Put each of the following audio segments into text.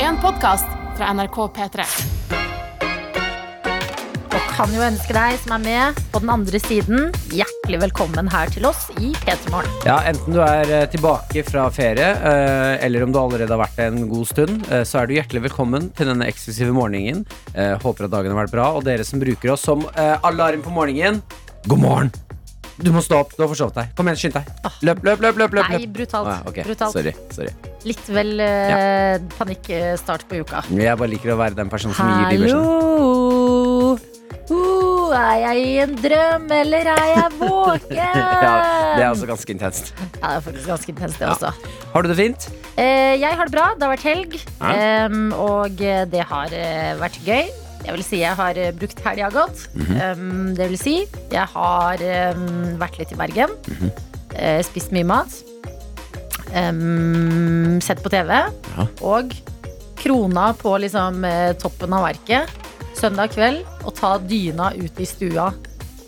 en podkast fra NRK P3. Og kan jo ønske deg som er med på den andre siden, hjertelig velkommen her til oss i P3 Morgen. Ja, Enten du er eh, tilbake fra ferie, eh, eller om du allerede har vært det en god stund, eh, så er du hjertelig velkommen til denne eksklusive morgenen. Eh, Håper at dagen har vært bra. Og dere som bruker oss som eh, alarm på morgenen, god morgen! Du må stå opp, du har forsovet deg. Kom igjen, skynd deg. Løp, løp, løp. løp, løp, Ah. Nei, løp. brutalt. Ah, ok. brutalt. Sorry. sorry Litt vel eh, panikkstart på uka. Jeg bare liker å være den personen som gir de beskjedene. Hallo! Uh, er jeg i en drøm, eller er jeg våken? Ja, det er også ganske intenst. Ja, det er faktisk ganske intenst, det Ja. også. Har du det fint? Eh, jeg har det bra. Det har vært helg. Ja. em, og eh, det har eh, vært gøy. Jeg vil si jeg har eh, brukt helga godt. Em, det vil si, jeg har em, vært litt i Bergen. eh, spist mye mat. em, sett på TV. Og krona på liksom eh, toppen av verket søndag kveld og ta dyna ut i stua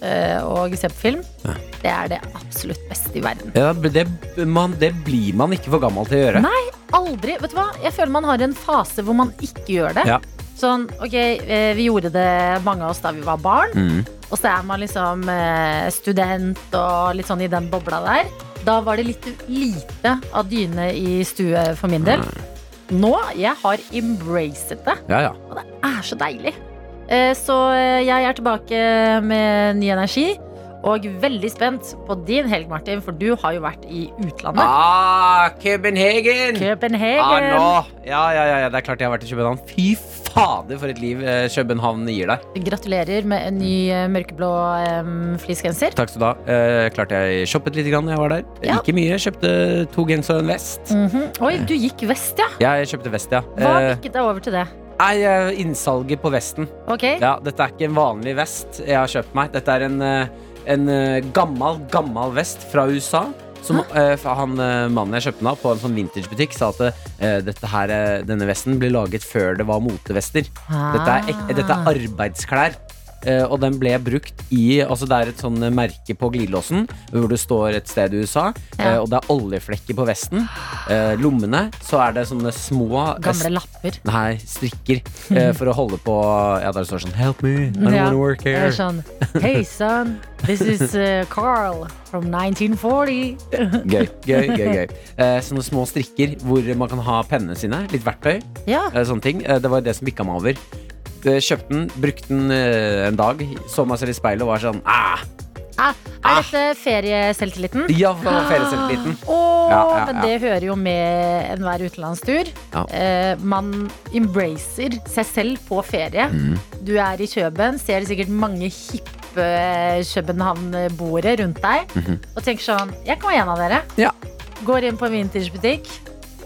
eh, og se på film. Det er det absolutt beste i verden. Ja, det, man, det blir man ikke for gammel til å gjøre. Nei. aldri Vet du hva? Jeg føler man har en fase hvor man ikke gjør det. Ja. Sånn, ok, eh, Vi gjorde det mange av oss da vi var barn, Mm. og så er man liksom eh, student og litt sånn i den bobla der. Da var det litt lite av dyne i stue for min del. Nå jeg har embracet det, Ja, ja. og det er så deilig. Eh, Så eh, jeg er tilbake med ny energi. Og veldig spent på din helg, Martin, for du har jo vært i utlandet. Ah, Copenhagen! København. Ja, nå. Ja, ja, ja, ja, det er klart jeg har vært i København. Fy fader, for et liv eh, København gir deg. Gratulerer med en ny eh, mørkeblå em, fleecegenser. Takk skal du ha. Eh, klart jeg shoppet litt grann når jeg var der. Ja. Ikke mye. Kjøpte to gensere og en vest. Mhm. Oi, du gikk vest, ja! Jeg kjøpte vest, ja. Hva Eh, vikket deg over til det? nei, eh, innsalget på vesten. Ok, Ja, dette er ikke en vanlig vest jeg har kjøpt meg. Dette er en, eh, en eh, gammal, gammal vest fra USA. Som eh, fra han eh, mannen jeg kjøpte den av på en sånn vintagebutikk, sa at eh, dette her, eh, denne vesten ble laget før det var motevester. Dette er, ek, dette Ah. er arbeidsklær. eh, og den ble brukt i altså Det er et sånn eh, merke på glidelåsen hvor det står et sted i USA. eh, Ja. og det er oljeflekker på vesten. Eh, lommene, så er det sånne små eh, Gamle lapper. Nei, strikker. eh, for å holde på Ja, der står det sånn Help me, I don't Ja. wanna work Det er here. sånn Hei, son. This is eh, Carl from 1940. Gøy, gøy, gøy. gøy eh, Sånne små strikker hvor man kan ha pennene sine. Litt verktøy. Ja. eh, Sånne ting. Eh, det var det som bikka meg over. Eh, Kjøpte den, brukte den eh, en dag, så meg selv i speilet og var sånn ah, Ah, er dette ferieselvtilliten? Ja, for ferieselvtilliten. Å, Ja, ja, men ja. det hører jo med enhver utenlandstur. Ja. Eh, man embracer seg selv på ferie. Mm. Du er i Køben, ser sikkert mange hippe København-boere rundt deg. Mhm. Og tenker sånn Jeg kan være en av dere. Ja. Går inn på en vintagebutikk.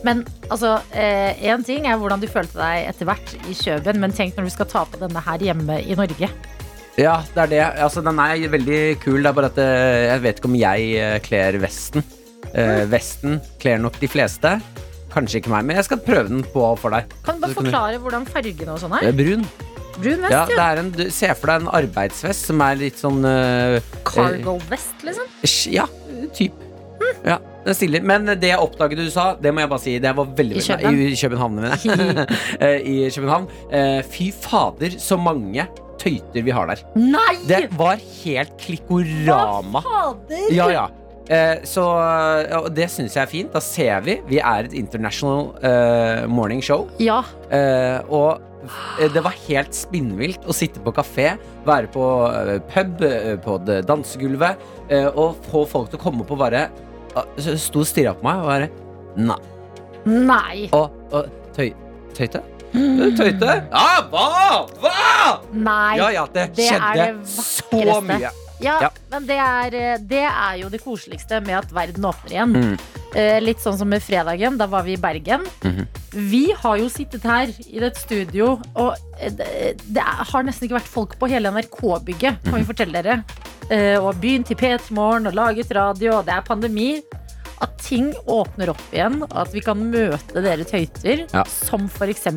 Men altså, én ting er hvordan du følte deg etter hvert i Køben, men tenk når du skal ta på denne her hjemme i Norge. Ja, det er det. Altså, den er veldig kul. Det er bare at eh, jeg vet ikke om jeg eh, kler vesten. Eh, vesten kler nok de fleste. Kanskje ikke meg, men jeg skal prøve den på for deg. Kan du bare Så kan du- forklare hvordan fargene og sånn Eh, er? Brun. Brun vest, Ja, ja. det er en, du, se for deg en arbeidsvest som er litt sånn eh, Cargo-vest, liksom. sj- Ja, typ. Ja, den er stilig. Men det jeg oppdaget du sa, det må jeg bare si. Det var veldig I København. veldig- I København. mener jeg. Eh, I København. Eh, Fy fader, så mange tøyter vi har der. Nei! Det var helt klikkorama. Fader! Ja, ja. Eh, så ja, og det syns jeg er fint. Da ser vi. Vi er et international eh, morning show. Ja, Eh, og eh, det var helt spinnvilt å sitte på kafé, være på eh, pub, eh, på det dansegulvet, eh, og få folk til å komme opp og bare ah, så Sto og stirra på meg og bare Nei. nei, Og, og tøy, tøyte? Tøyte? Ja, hva? Hva? Mm. nei. Ja, ja, det det er skjedde det så vakreste. mye. Ja, Ja. men det er, eh, det er jo det koseligste med at verden åpner igjen. Mm. Eh, Litt sånn som med fredagen, da var vi i Bergen. Mhm. Vi har jo sittet her i et studio, og eh, det det er- har nesten ikke vært folk på hele NRK-bygget, kan Mhm. vi fortelle dere. Eh, Og begynt i P3 Morgen og laget radio, og det er pandemi. At ting åpner opp igjen, og at vi kan møte dere tøyter, Ja. som f.eks. i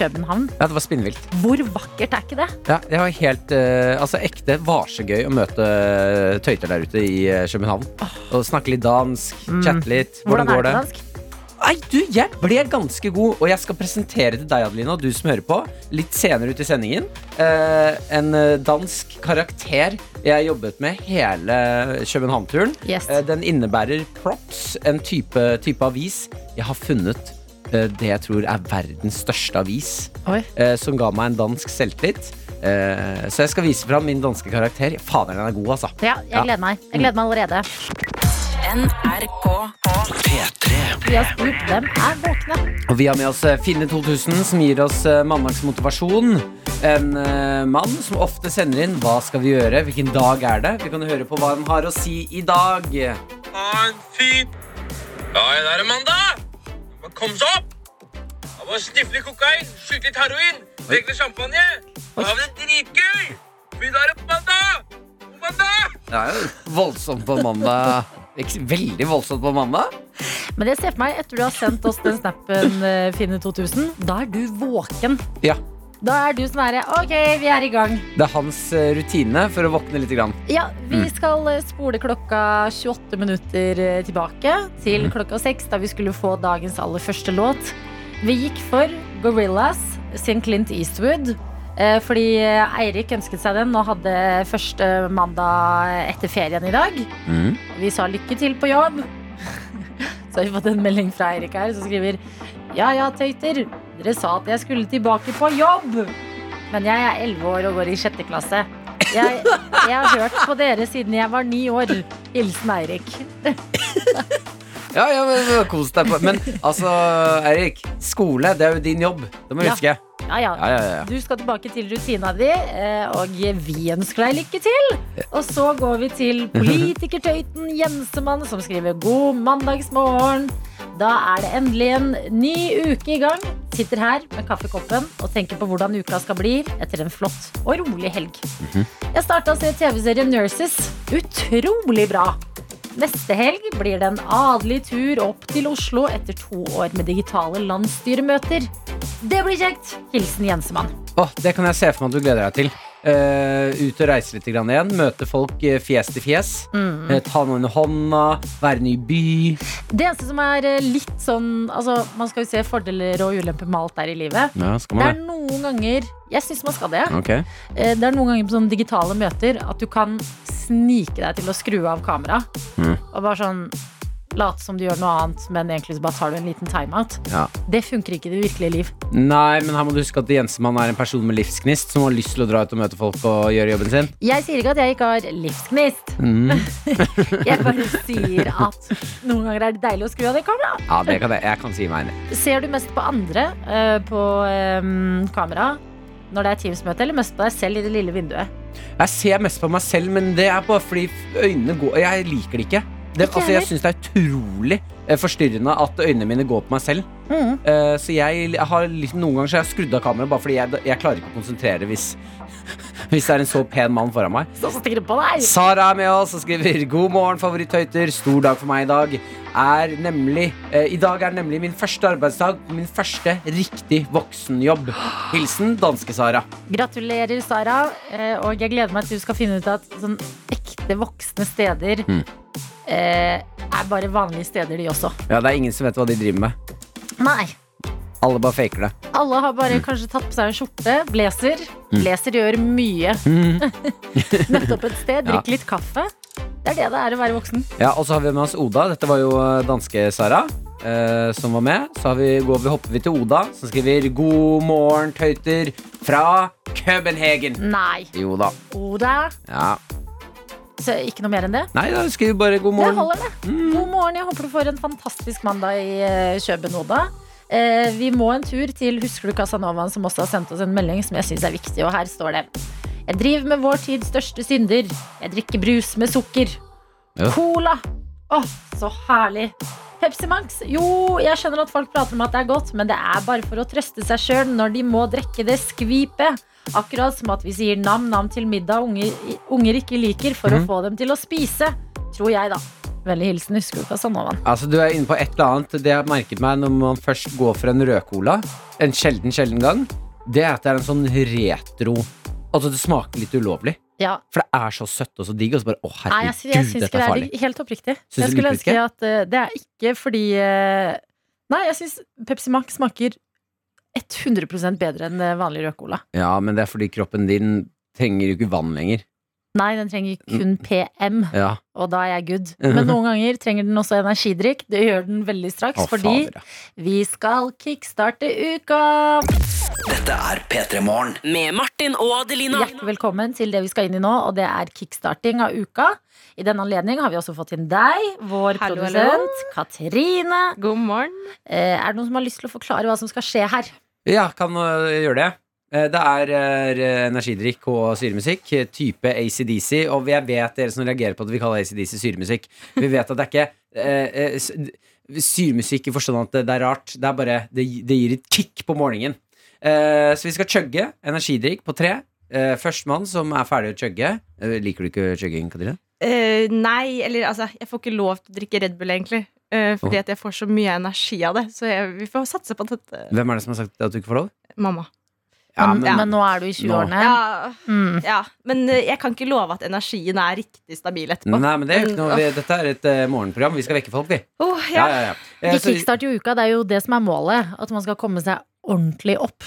København. Ja, det var spinnvilt. Hvor vakkert er ikke det? Ja, det var helt eh, Altså, ekte var så gøy å møte eh, tøyter der ute i eh, København. Og snakke litt dansk, chatte litt. Mm. Hvordan, Hvordan, går det? er det? dansk? Nei, du, jeg ble ganske god, og jeg skal presentere til deg, Adelina, og du som hører på, litt senere ut i sendingen, eh, en eh, dansk karakter jeg jobbet med hele København-turen. Yes. Eh, den innebærer props, en type, type avis. Jeg har funnet eh, det jeg tror er verdens største avis, Oi. eh, som ga meg en dansk selvtillit. Eh, så jeg skal vise fram min danske karakter. Fader, den er god, altså. Ja, jeg gleder meg. Jeg gleder meg allerede. NRK Vi har spurt hvem er våkne. Og vi har med oss eh, Finne 2000, som gir oss eh, mandagsmotivasjon. En eh, mann som ofte sender inn 'Hva skal vi gjøre?' Hvilken dag er det? Vi kan høre på hva han har å si i dag. Ha en fin Ja, det er det mandag! Men Kom så opp! Jeg bare sniffer litt kokain, skyter litt heroin, drikker litt champagne. Da har vi det dritgøy! For i dag er det mandag! God mandag! Det er jo voldsomt på mandag. Ikke- Veldig voldsomt på mandag. Men jeg ser for meg, etter du har sendt oss den snappen eh, Finne 2000, da er du våken. Ja. Da er du sånn herre OK, vi er i gang. Det er hans eh, rutine for å våkne lite grann. Ja, vi skal eh, spole klokka 28 minutter eh, tilbake til klokka 6, da vi skulle få dagens aller første låt. Vi gikk for Gorillas sin Clint Eastwood. eh, Fordi eh, Eirik ønsket seg den og hadde første mandag etter ferien i dag. Mm. Vi sa lykke til på jobb. Så har vi fått en melding fra Eirik her som skriver Ja ja, tøyter. Dere sa at jeg skulle tilbake på jobb. Men jeg er 11 år og går i sjette klasse. Jeg, jeg har hørt på dere siden jeg var ni år. Hilsen Eirik. Ja, ja, men, men kos deg på Men altså, Eirik, skole det er jo din jobb. Det må du Ja. huske. Ja ja. Ja, ja, ja, ja. Du skal tilbake til rutina di, eh, og vi ønsker deg lykke til. Og så går vi til politikertøyten Jensemann, som skriver 'God mandagsmorgen'. Da er det endelig en ny uke i gang. Sitter her med kaffekoppen og tenker på hvordan uka skal bli etter en flott og rolig helg. Mhm. Jeg starta å se TV-serien Nurses. Utrolig bra! Neste helg blir det en adelig tur opp til Oslo etter to år med digitale landsstyremøter. Det blir kjekt! Hilsen Jensemann. Åh, det kan jeg se for meg at du gleder deg til. Eh, ut og reise litt grann igjen. Møte folk eh, fjes til fjes. Eh, ta noen i hånda. Være ny by. Det eneste som er eh, litt sånn altså, Man skal jo se fordeler og ulemper med alt der i livet. Ja, skal Det er noen ganger Jeg syns man skal det. Ok. Eh, Det er noen ganger på sånne digitale møter at du kan snike deg til å skru av kameraet. Mm. Og bare sånn late som du gjør noe annet, men egentlig så bare tar du en liten timeout. Ja. Det funker ikke i det virkelige liv. Nei, men her må du huske at Jensemann er en person med livsgnist som har lyst til å dra ut og møte folk og gjøre jobben sin. Jeg sier ikke at jeg ikke har livsgnist. Mm. jeg bare sier at noen ganger er det deilig å skru av det kameraet. Ja, det kan jeg. Jeg kan si meg enig. Ser du mest på andre eh, på eh, kamera når det er Teams-møte, eller mest på deg selv i det lille vinduet? Jeg ser mest på meg selv, men det er bare fordi øynene går Jeg liker det ikke. Det, Ikke altså, jeg heller. syns det er utrolig eh, forstyrrende at øynene mine går på meg selv. Mm. Eh, så jeg l- har liksom, noen ganger så har jeg skrudd av kameraet bare fordi jeg, jeg klarer ikke å konsentrere hvis, hvis det er en så pen mann foran meg. Så stikker det på deg! Sara er med oss og skriver God morgen, favoritthøyter. Stor dag for meg i dag. Er nemlig, eh, I dag er nemlig min første arbeidsdag og min første riktig voksenjobb. Hilsen danske-Sara. Gratulerer, Sara. eh, og jeg gleder meg til du skal finne ut at sånn ekte voksne steder Mm. eh, er bare vanlige steder, de også. Ja, det er ingen som vet hva de driver med. Nei. Alle bare faker det. Alle har Mm. bare kanskje tatt på seg en skjorte, blazer. Blazer gjør mye. Møtt opp et sted, Mm. Ja. drikk litt kaffe. Det er det det er å være voksen. Ja, og så har vi med oss Oda. Dette var jo eh, danske Sara. eh, som var med. Så har vi, går vi, hopper vi til Oda, som skriver 'God morgen, tøyter fra Københagen'. Nei. Jo da. Oda. Ja. Så ikke noe mer enn det? Nei, da skriver vi bare 'god Det morgen'. holder, det. God morgen. Jeg håper du får en fantastisk mandag i eh, København. Eh, vi må en tur til Husker du Casanovaen, som også har sendt oss en melding som jeg syns er viktig. Og her står det. Jeg driver med vår tids største synder. Jeg drikker brus med sukker. Ja. Cola. Å, så herlig. Pepsi Max. Jo, jeg skjønner at folk prater om at det er godt, men det er bare for å trøste seg sjøl når de må drikke det skvipet. Akkurat som at vi sier nam-nam til middag unger, unger ikke liker, for Mhm. å få dem til å spise. Tror jeg, da. Vennlig hilsen husker du Casanovaen. Altså, du er inne på et eller annet. Det jeg har merket meg når man først går for en rødcola, en sjelden, sjelden gang, det er at det er en sånn retro Altså, det smaker litt ulovlig. Ja. For det er så søtt og så digg, og så bare å, herregud, Nei, altså, jeg, sy- jeg syns ikke dette er det er farlig. digg. Helt oppriktig. du Jeg skulle eh, det er ønske oppriktig? at eh, det er ikke fordi eh, Nei, jeg syns Pepsi Max smaker 100 bedre enn eh, vanlig rød cola. Ja, men det er fordi kroppen din trenger jo ikke vann lenger. Nei, den trenger kun Mm. PM, Ja. og da er jeg good. Mhm. Men noen ganger trenger den også energidrikk. Det gjør den veldig straks, Å, fordi fader, ja. vi skal kickstarte uka! Med Martin og Adelina. Hjertelig velkommen til det vi skal inn i nå, og det er kickstarting av uka. I den anledning har vi også fått inn deg, vår Hallo, hallo. produsent Katrine. God morgen. Eh, er det noen som har lyst til å forklare hva som skal skje her? Ja, kan øh, gjøre det. Eh, Det er eh, energidrikk og syremusikk, eh, type ACDC. Og jeg vet dere som reagerer på at vi kaller ACDC syremusikk. Vi vet at det er ikke eh, eh, s- d- syremusikk i forstand at det- det er rart. Det er bare Det, gi- det gir et kick på morgenen. Eh, Så vi skal chugge energidrikk på tre. Eh, Førstemann som er ferdig å chugge. Eh, Liker du ikke chugging, Katrine? Eh, nei, eller altså, jeg får ikke lov til å drikke Red Bull, egentlig. eh, fordi at jeg får så mye energi av det. Så jeg, vi får satse på at eh, Hvem er det som har sagt at du ikke får lov? Mamma. Ja, men, men- men nå er du i 20-årene. Ja, Mm. ja, men eh, jeg kan ikke love at energien er riktig stabil etterpå. Nei, men det er jo ikke noe vi, Dette er et eh, morgenprogram. Vi skal vekke folk, vi. Åh, Ja, ja. ja, ja. Eh, Vi så- kickstarter jo uka, det er jo det som er målet. At man skal komme seg ordentlig opp.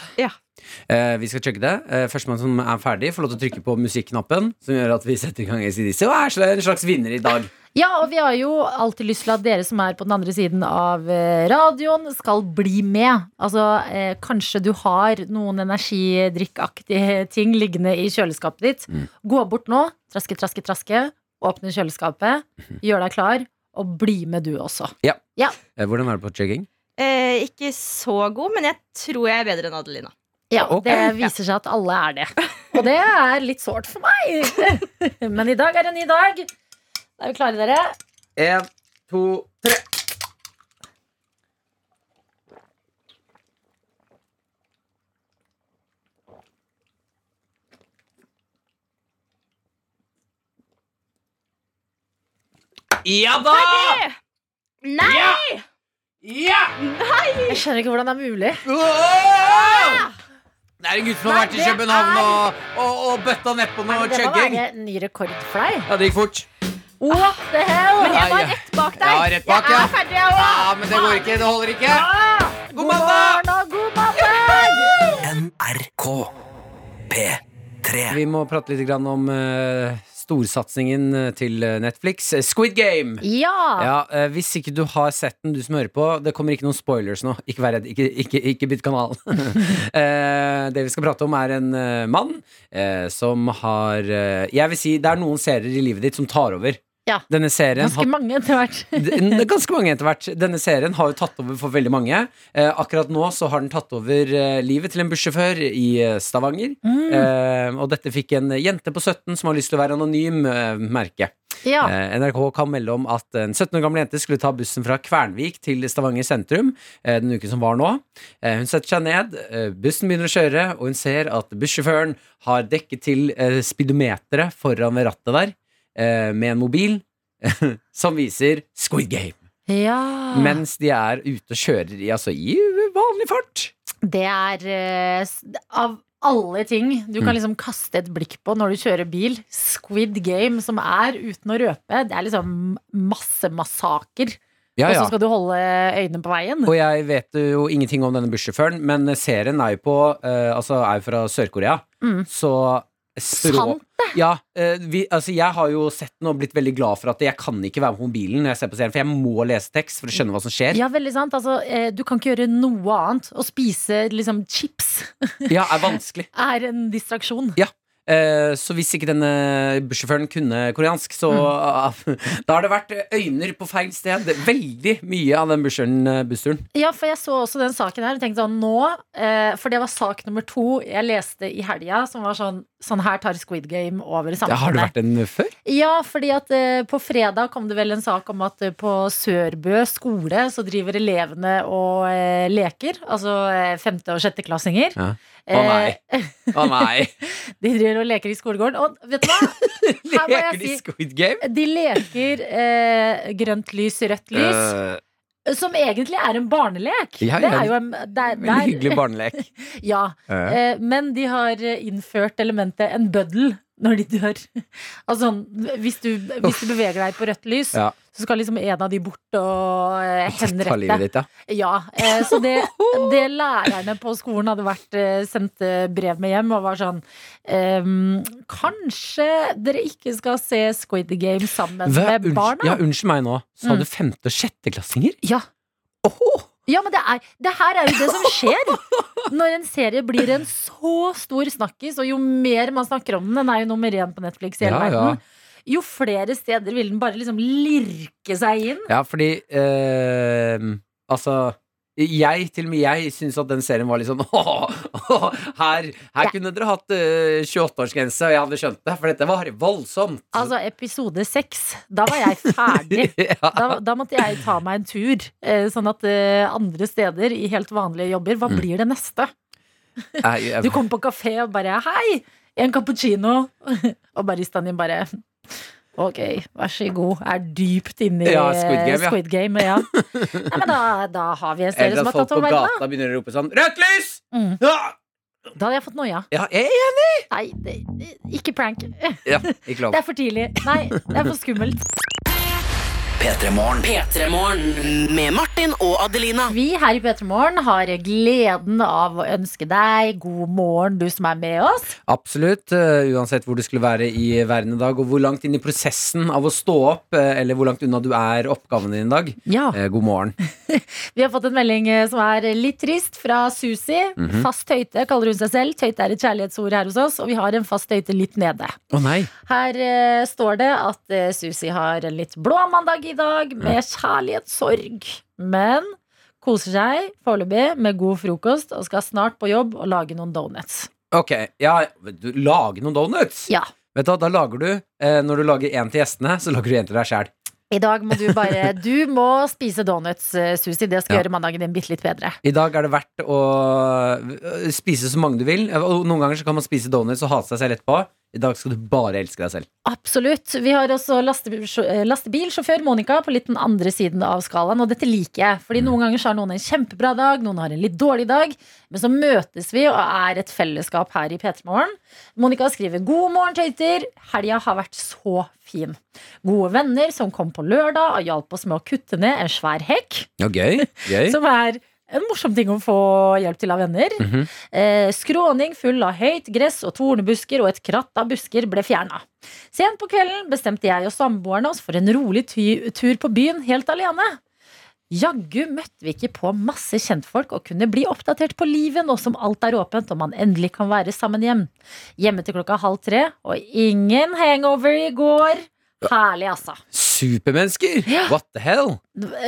Eh, vi skal sjekke det. Eh, Førstemann som er ferdig, får lov til å trykke på musikknappen, som gjør at vi setter i gang ACDC og er sl- en slags vinner i dag. Ja, og vi har jo alltid lyst til at dere som er på den andre siden av eh, radioen, skal bli med. Altså, eh, kanskje du har noen energidrikkaktige ting liggende i kjøleskapet ditt. Mm. Gå bort nå, traske, traske, traske. Åpne kjøleskapet, gjør deg klar, og bli med du også. Eh, hvordan er det på chugging? Eh, ikke så god, men jeg tror jeg er bedre enn Adelina. Ja, Ok. Det viser seg at alle er det. Og det er litt sårt for meg. Men i dag er en ny dag. Er vi klare, dere? Én, to, tre. Ja da! Eh, Nei! Ja! Jeg skjønner ikke hvordan det er mulig. Wow! Det er en gutt som har vært i Nei, det København er- og, og, og bøtta nedpå Nei, noe men det må chugging. være ny rekord for deg. Ja, det gikk fort. What the hell? Men jeg var Ja, ja. rett bak Ja, rett bak, ja. Ja, men det går ikke. Det holder ikke. God mandag! og god mandag! NRK P3 Vi må prate litt grann om eh, storsatsingen eh, til Netflix, Eh, Squid Game. Ja. Ja, eh, Hvis ikke du har sett den, du som hører på Det kommer ikke noen spoilers nå. Ikke vær redd. Ikke, ikke, ikke bytt kanal. Eh, det vi skal prate om, er en eh, mann eh, som har eh, Jeg vil si det er noen serier i livet ditt som tar over. Ja. Denne serien har Ganske mange etter hvert. Den- det er Ganske mange etter hvert. Denne serien har jo tatt over for veldig mange. Eh, akkurat nå så har den tatt over eh, livet til en bussjåfør i eh, Stavanger. Mm. Eh, og dette fikk en jente på 17 som har lyst til å være anonym, eh, merke. Ja. Eh, NRK kan melde om at en 17 år gammel jente skulle ta bussen fra Kvernvik til Stavanger sentrum eh, den uken som var nå. Eh, hun setter seg ned, eh, bussen begynner å kjøre, og hun ser at bussjåføren har dekket til eh, speedometeret foran ved rattet der eh, med en mobil som viser Squid Game. ja. Mens de er ute og kjører i, altså, i vanlig fart. Det er eh, s- av alle ting du Mm. kan liksom kaste et blikk på når du kjører bil. Squid Game, som er uten å røpe. Det er liksom massemassaker. Ja, Og ja. så skal du holde øynene på veien. Og jeg vet jo ingenting om denne bussjåføren, men serien er jo på eh, Altså er jo fra Sør-Korea, Mm. så Sant Ja, eh, vi, altså jeg har jo sett den og blitt veldig glad for at jeg kan ikke være med på mobilen når jeg ser på serien, for jeg må lese tekst for å skjønne hva som skjer. Ja, Ja, veldig sant. Altså, eh, du kan ikke gjøre noe annet. Å spise liksom chips er vanskelig. er en distraksjon. Eh, så hvis ikke denne bussjåføren kunne koreansk, så Mm. ah, Da har det vært øyner på feil sted. Veldig mye av den bussjåføren, eh, bussturen. Ja, for jeg så også den saken her og tenkte sånn nå eh, For det var sak nummer to jeg leste i helga, som var sånn Sånn her tar Squid Game over i Ja, har det samfunnet. vært en før? Ja, fordi at eh, på fredag kom det vel en sak om at eh, på Sørbø skole så driver elevene og eh, leker. Altså eh, femte- og sjetteklassinger. Ja. Å nei. Eh, Å nei. de driver og leker i skolegården. Og vet du hva? Her må Leker jeg de si Squid Game? de leker eh, grønt lys, rødt lys, Eh, som egentlig er en barnelek. Ja, Det ja. er jo en det er, det veldig er, hyggelig barnelek. Ja, Eh, eh, men de har eh, innført elementet en bøddel. når de dør. Altså, sånn, hvis, du, hvis du beveger deg på rødt lys, Ja. så skal liksom en av de bort og eh, Ta livet henrette. ditt, ja. Ja, eh, så det, det lærerne på skolen hadde vært eh, sendt eh, brev med hjem og var sånn ehm, Kanskje dere ikke skal se Squid Game sammen Hva- med unnskyld- barna? ja, unnskyld meg nå. Sa Mm. du femte- og sjetteklassinger? Ja. Ja, men det, er, det her er jo det som skjer. Når en serie blir en så stor snakkis, og jo mer man snakker om den Den er jo nummer én på Netflix i hele Ja, ja. verden. Jo flere steder vil den bare liksom lirke seg inn. Ja, fordi eh, Altså jeg, til og med jeg, syns at den serien var litt sånn åh, åh, Her, her Ja. kunne dere hatt eh, 28-årsgrense, og jeg hadde skjønt det, for dette var voldsomt. Altså, episode seks, da var jeg ferdig. ja. Da, da måtte jeg ta meg en tur, eh, sånn at eh, andre steder i helt vanlige jobber Hva Mm. blir det neste? Jeg- jeg- Du kommer på kafé og bare 'hei, en cappuccino', og baristaen din bare Ok, vær så god. Er dypt inne i Ja, Squid Game, ja. Squid Game, ja. Nei, men da, da har vi en serie Eller som har at folk tatt på over verden, gata begynner å rope sånn Rødt lys! da. Mm. Ja, Da hadde jeg fått noia. Ja, jeg er enig! Nei, det, det- ikke prank. Det Ja, ikke lov. er for tidlig. Nei, det er for skummelt. P3 Morgen. P3morgen med Martin og Adelina. Vi her i P3 Morgen har gleden av å ønske deg god morgen, du som er med oss. Absolutt. eh, uansett hvor du skulle være i verden i dag, og hvor langt inn i prosessen av å stå opp, eh, eller hvor langt unna du er oppgaven din i dag. Ja. Eh, god morgen. Vi har fått en melding eh, som er litt trist, fra Susi. Fast tøyte kaller hun seg selv. Tøyte er et kjærlighetsord her hos oss, og vi har en fast tøyte litt nede. Å nei. Her eh, står det at eh, Susi har en litt blå mandag i dag, med kjærlighetssorg. Men koser seg foreløpig med god frokost og skal snart på jobb og lage noen donuts. Ok, ja, du lager noen donuts. Ja. Vet du hva, da lager du, eh, når du lager en til gjestene, så lager du en til deg selv. I dag må du bare Du må spise donuts, eh, Susi. Det skal Ja. gjøre mandagen din bitte litt bedre. I dag er det verdt å eh, spise så mange du vil, og noen ganger så kan man spise donuts og hate seg selv etterpå. I dag skal du bare elske deg selv. Absolutt. Vi har også lastebilsjå- eh, lastebilsjåfør Monica på litt den andre siden av skalaen, og dette liker jeg. Fordi noen ganger så har noen en kjempebra dag, noen har en litt dårlig dag, men så møtes vi og er et fellesskap her i P3 Morgen. Monica skriver 'God morgen, tøyter'. Helga har vært så fin. Gode venner som kom på lørdag og hjalp oss med å kutte ned en svær hekk, Ja, gøy. Gøy. som er en morsom ting å få hjelp til av venner. Mhm. Eh, skråning full av høyt gress og tornebusker og et kratt av busker ble fjerna. Sent på kvelden bestemte jeg og samboerne oss for en rolig ty tur på byen helt alene. Jaggu møtte vi ikke på masse kjentfolk og kunne bli oppdatert på livet nå som alt er åpent og man endelig kan være sammen hjem. Hjemme til klokka halv tre, og ingen hangover i går. Herlig, altså. Supermennesker! What the hell?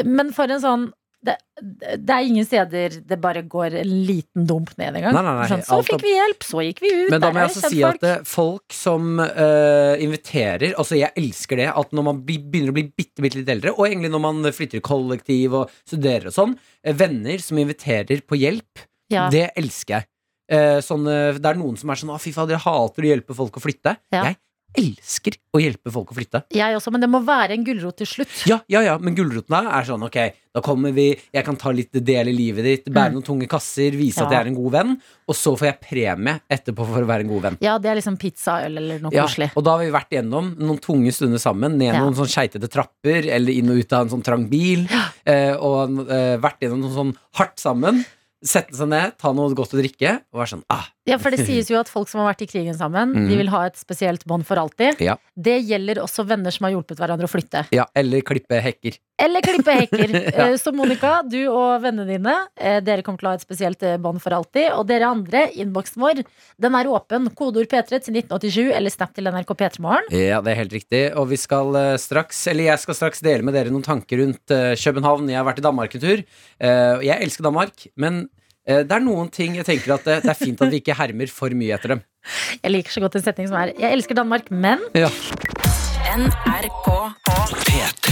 Men for en sånn det, det er ingen steder det bare går en liten dump ned engang. Nei, nei, nei, Sånn, så alt fikk av- vi hjelp, så gikk vi ut. Men da der må er jeg også si kjentfolk. at eh, folk som eh, inviterer Altså, jeg elsker det at når man bli- begynner å bli bitte, bitte litt eldre, og egentlig når man flytter i kollektiv og studerer og sånn, eh, venner som inviterer på hjelp, Ja. eh, det elsker jeg. Eh, sånn, eh, det er noen som er sånn 'Å, fy fader, jeg hater å hjelpe folk å flytte'. Ja. Jeg elsker å hjelpe folk å flytte. Jeg også, men det må være en gulrot til slutt. Ja, ja, ja, men gulrotene er sånn Ok, da kommer vi, jeg kan ta litt del i livet ditt Bære noen tunge kasser, vise at Mm. Ja. jeg er en god venn Og så får jeg premie etterpå for å være en god venn Ja, det er liksom pizza, øl eller noe ja, koselig. og da har vi vært gjennom noen tunge stunder sammen Ned Ja. noen sånn skjeitete trapper Eller inn og ut av en sånn trang bil eh, Og eh, vært gjennom noe sånn hardt sammen Sette seg ned, ta noe godt å drikke Og være sånn, ah, Ja, for det sies jo at folk som har vært i krigen sammen, Mhm. de vil ha et spesielt bånd for alltid. Ja. Det gjelder også venner som har hjulpet hverandre å flytte. ja, eller klippe hekker Eller klippe hekker. Ja. Eh, Så Monica, du og vennene dine, eh, dere kommer til å ha et spesielt eh, bånd for alltid. Og dere andre, innboksen vår, den er åpen. Kodeord P3 til 1987 eller snap til NRK P3morgen. Ja, det er helt riktig. Og vi skal eh, straks, eller jeg skal straks dele med dere noen tanker rundt eh, København. Jeg har vært i Danmark en tur. eh, og jeg elsker Danmark, men eh, det er noen ting jeg tenker at eh, det er fint at vi ikke hermer for mye etter dem. Jeg liker så godt en setning som er Jeg elsker Danmark, men Ja. NRK. P3.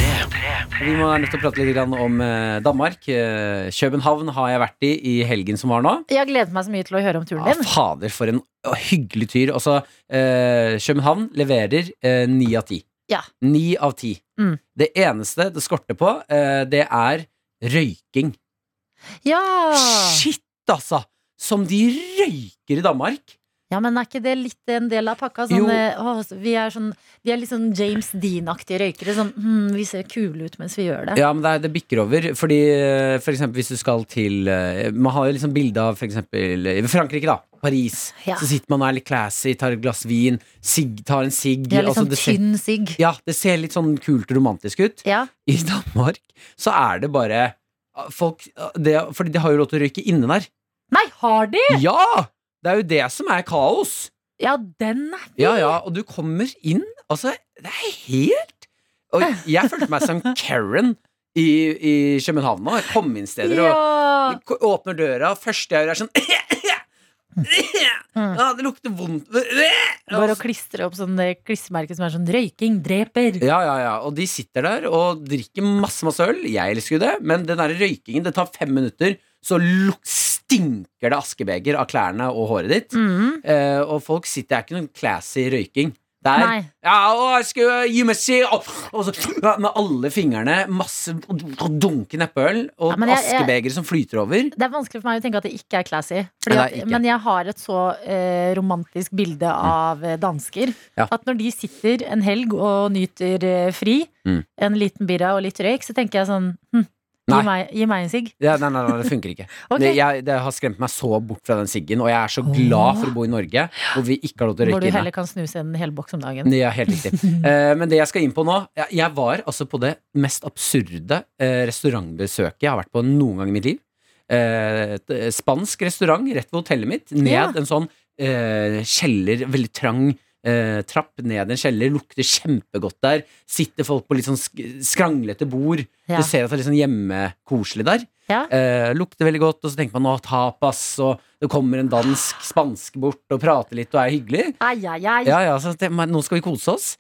Vi må er nødt til å prate litt grann om eh, Danmark. Eh, København har jeg vært i i helgen som var nå. jeg gleder meg så mye til å høre om turen Ja, din. fader, for en hyggelig tyr. Altså, eh, København leverer eh, ni av ti. Ja. Ni av ti. Mm. Det eneste det skorter på, eh, det er røyking. Ja! Ah. Shit, altså! Som de røyker i Danmark. Ja, men er ikke det litt en del av pakka? Sånn, Jo. eh, å, så vi, er sånn, vi er litt sånn James Dean-aktige røykere. Sånn, hm, vi ser kule ut mens vi gjør det. Ja, men det, er, det bikker over. Fordi eh, for eksempel hvis du skal til eh, Man har jo liksom bilde av for eksempel eh, Frankrike, da. Paris. Ja. Så sitter man og er litt classy, tar et glass vin, sigg, tar en sigg. Vi er litt altså, sånn det ser- tynn sigg. Ja, det ser litt sånn kult og romantisk ut. Ja. I Danmark så er det bare ah, folk ah, det, Fordi de har jo lov til å røyke inne der. Nei, har de?! Ja! Det er jo det som er kaos. Ja, den er Ja, ja, og du kommer inn Altså, det er helt Og jeg følte meg som Karen i, i København nå. Jeg kom inn steder og Ja. k- åpner døra, første jeg gjør, er sånn ah, Det lukter vondt Mm. Bare å klistre opp sånn eh, klistremerke som er sånn 'røyking dreper'. Ja, ja, ja. Og de sitter der og drikker masse, masse øl. Jeg elsker jo det, men den der røykingen, det tar fem minutter, så luk stinker det askebeger av klærne og håret ditt. Mm. Eh, og folk sitter Det er ikke noen classy røyking. Det er Nei. Ja, og jeg skulle gi meg si og, og så, ja, Med alle fingrene, masse og dunke neppøl, og Ja, men jeg- jeg- askebegre som flyter over. Det er vanskelig for meg å tenke at det ikke er classy. Fordi Nei, at, det er ikke. Mm. men jeg har et så eh, romantisk bilde av eh, dansker. Ja. At når de sitter en helg og nyter eh, fri, Mm. en liten birra og litt røyk, så tenker jeg sånn hm, gi, Nei. meg, gi meg en sigg. Ja, nei, nei, nei, det funker ikke. Ok. Det, jeg, det har skremt meg så bort fra den siggen, og jeg er så glad for å bo i Norge hvor vi ikke har lov til å Hvor du røyke inne. heller kan snuse en hel boks om dagen. Ja, helt riktig. Eh, men det jeg skal inn på nå Jeg, jeg var altså på det mest absurde eh, restaurantbesøket jeg har vært på noen gang i mitt liv. Eh, et eh, spansk restaurant rett ved hotellet mitt. Ned Ja. en sånn eh, kjeller, veldig trang eh, trapp ned en kjeller. Lukter kjempegodt der. Sitter folk på litt sånn sk skranglete bord. Ja. Du ser at det er litt sånn hjemmekoselig der. Ja. Eh, lukter veldig godt, og så tenker man å, tapas, og det kommer en dansk spansk bort og prater litt og er hyggelig. Ai, ai, ai. Ja, ja, så det, men nå skal vi kose oss.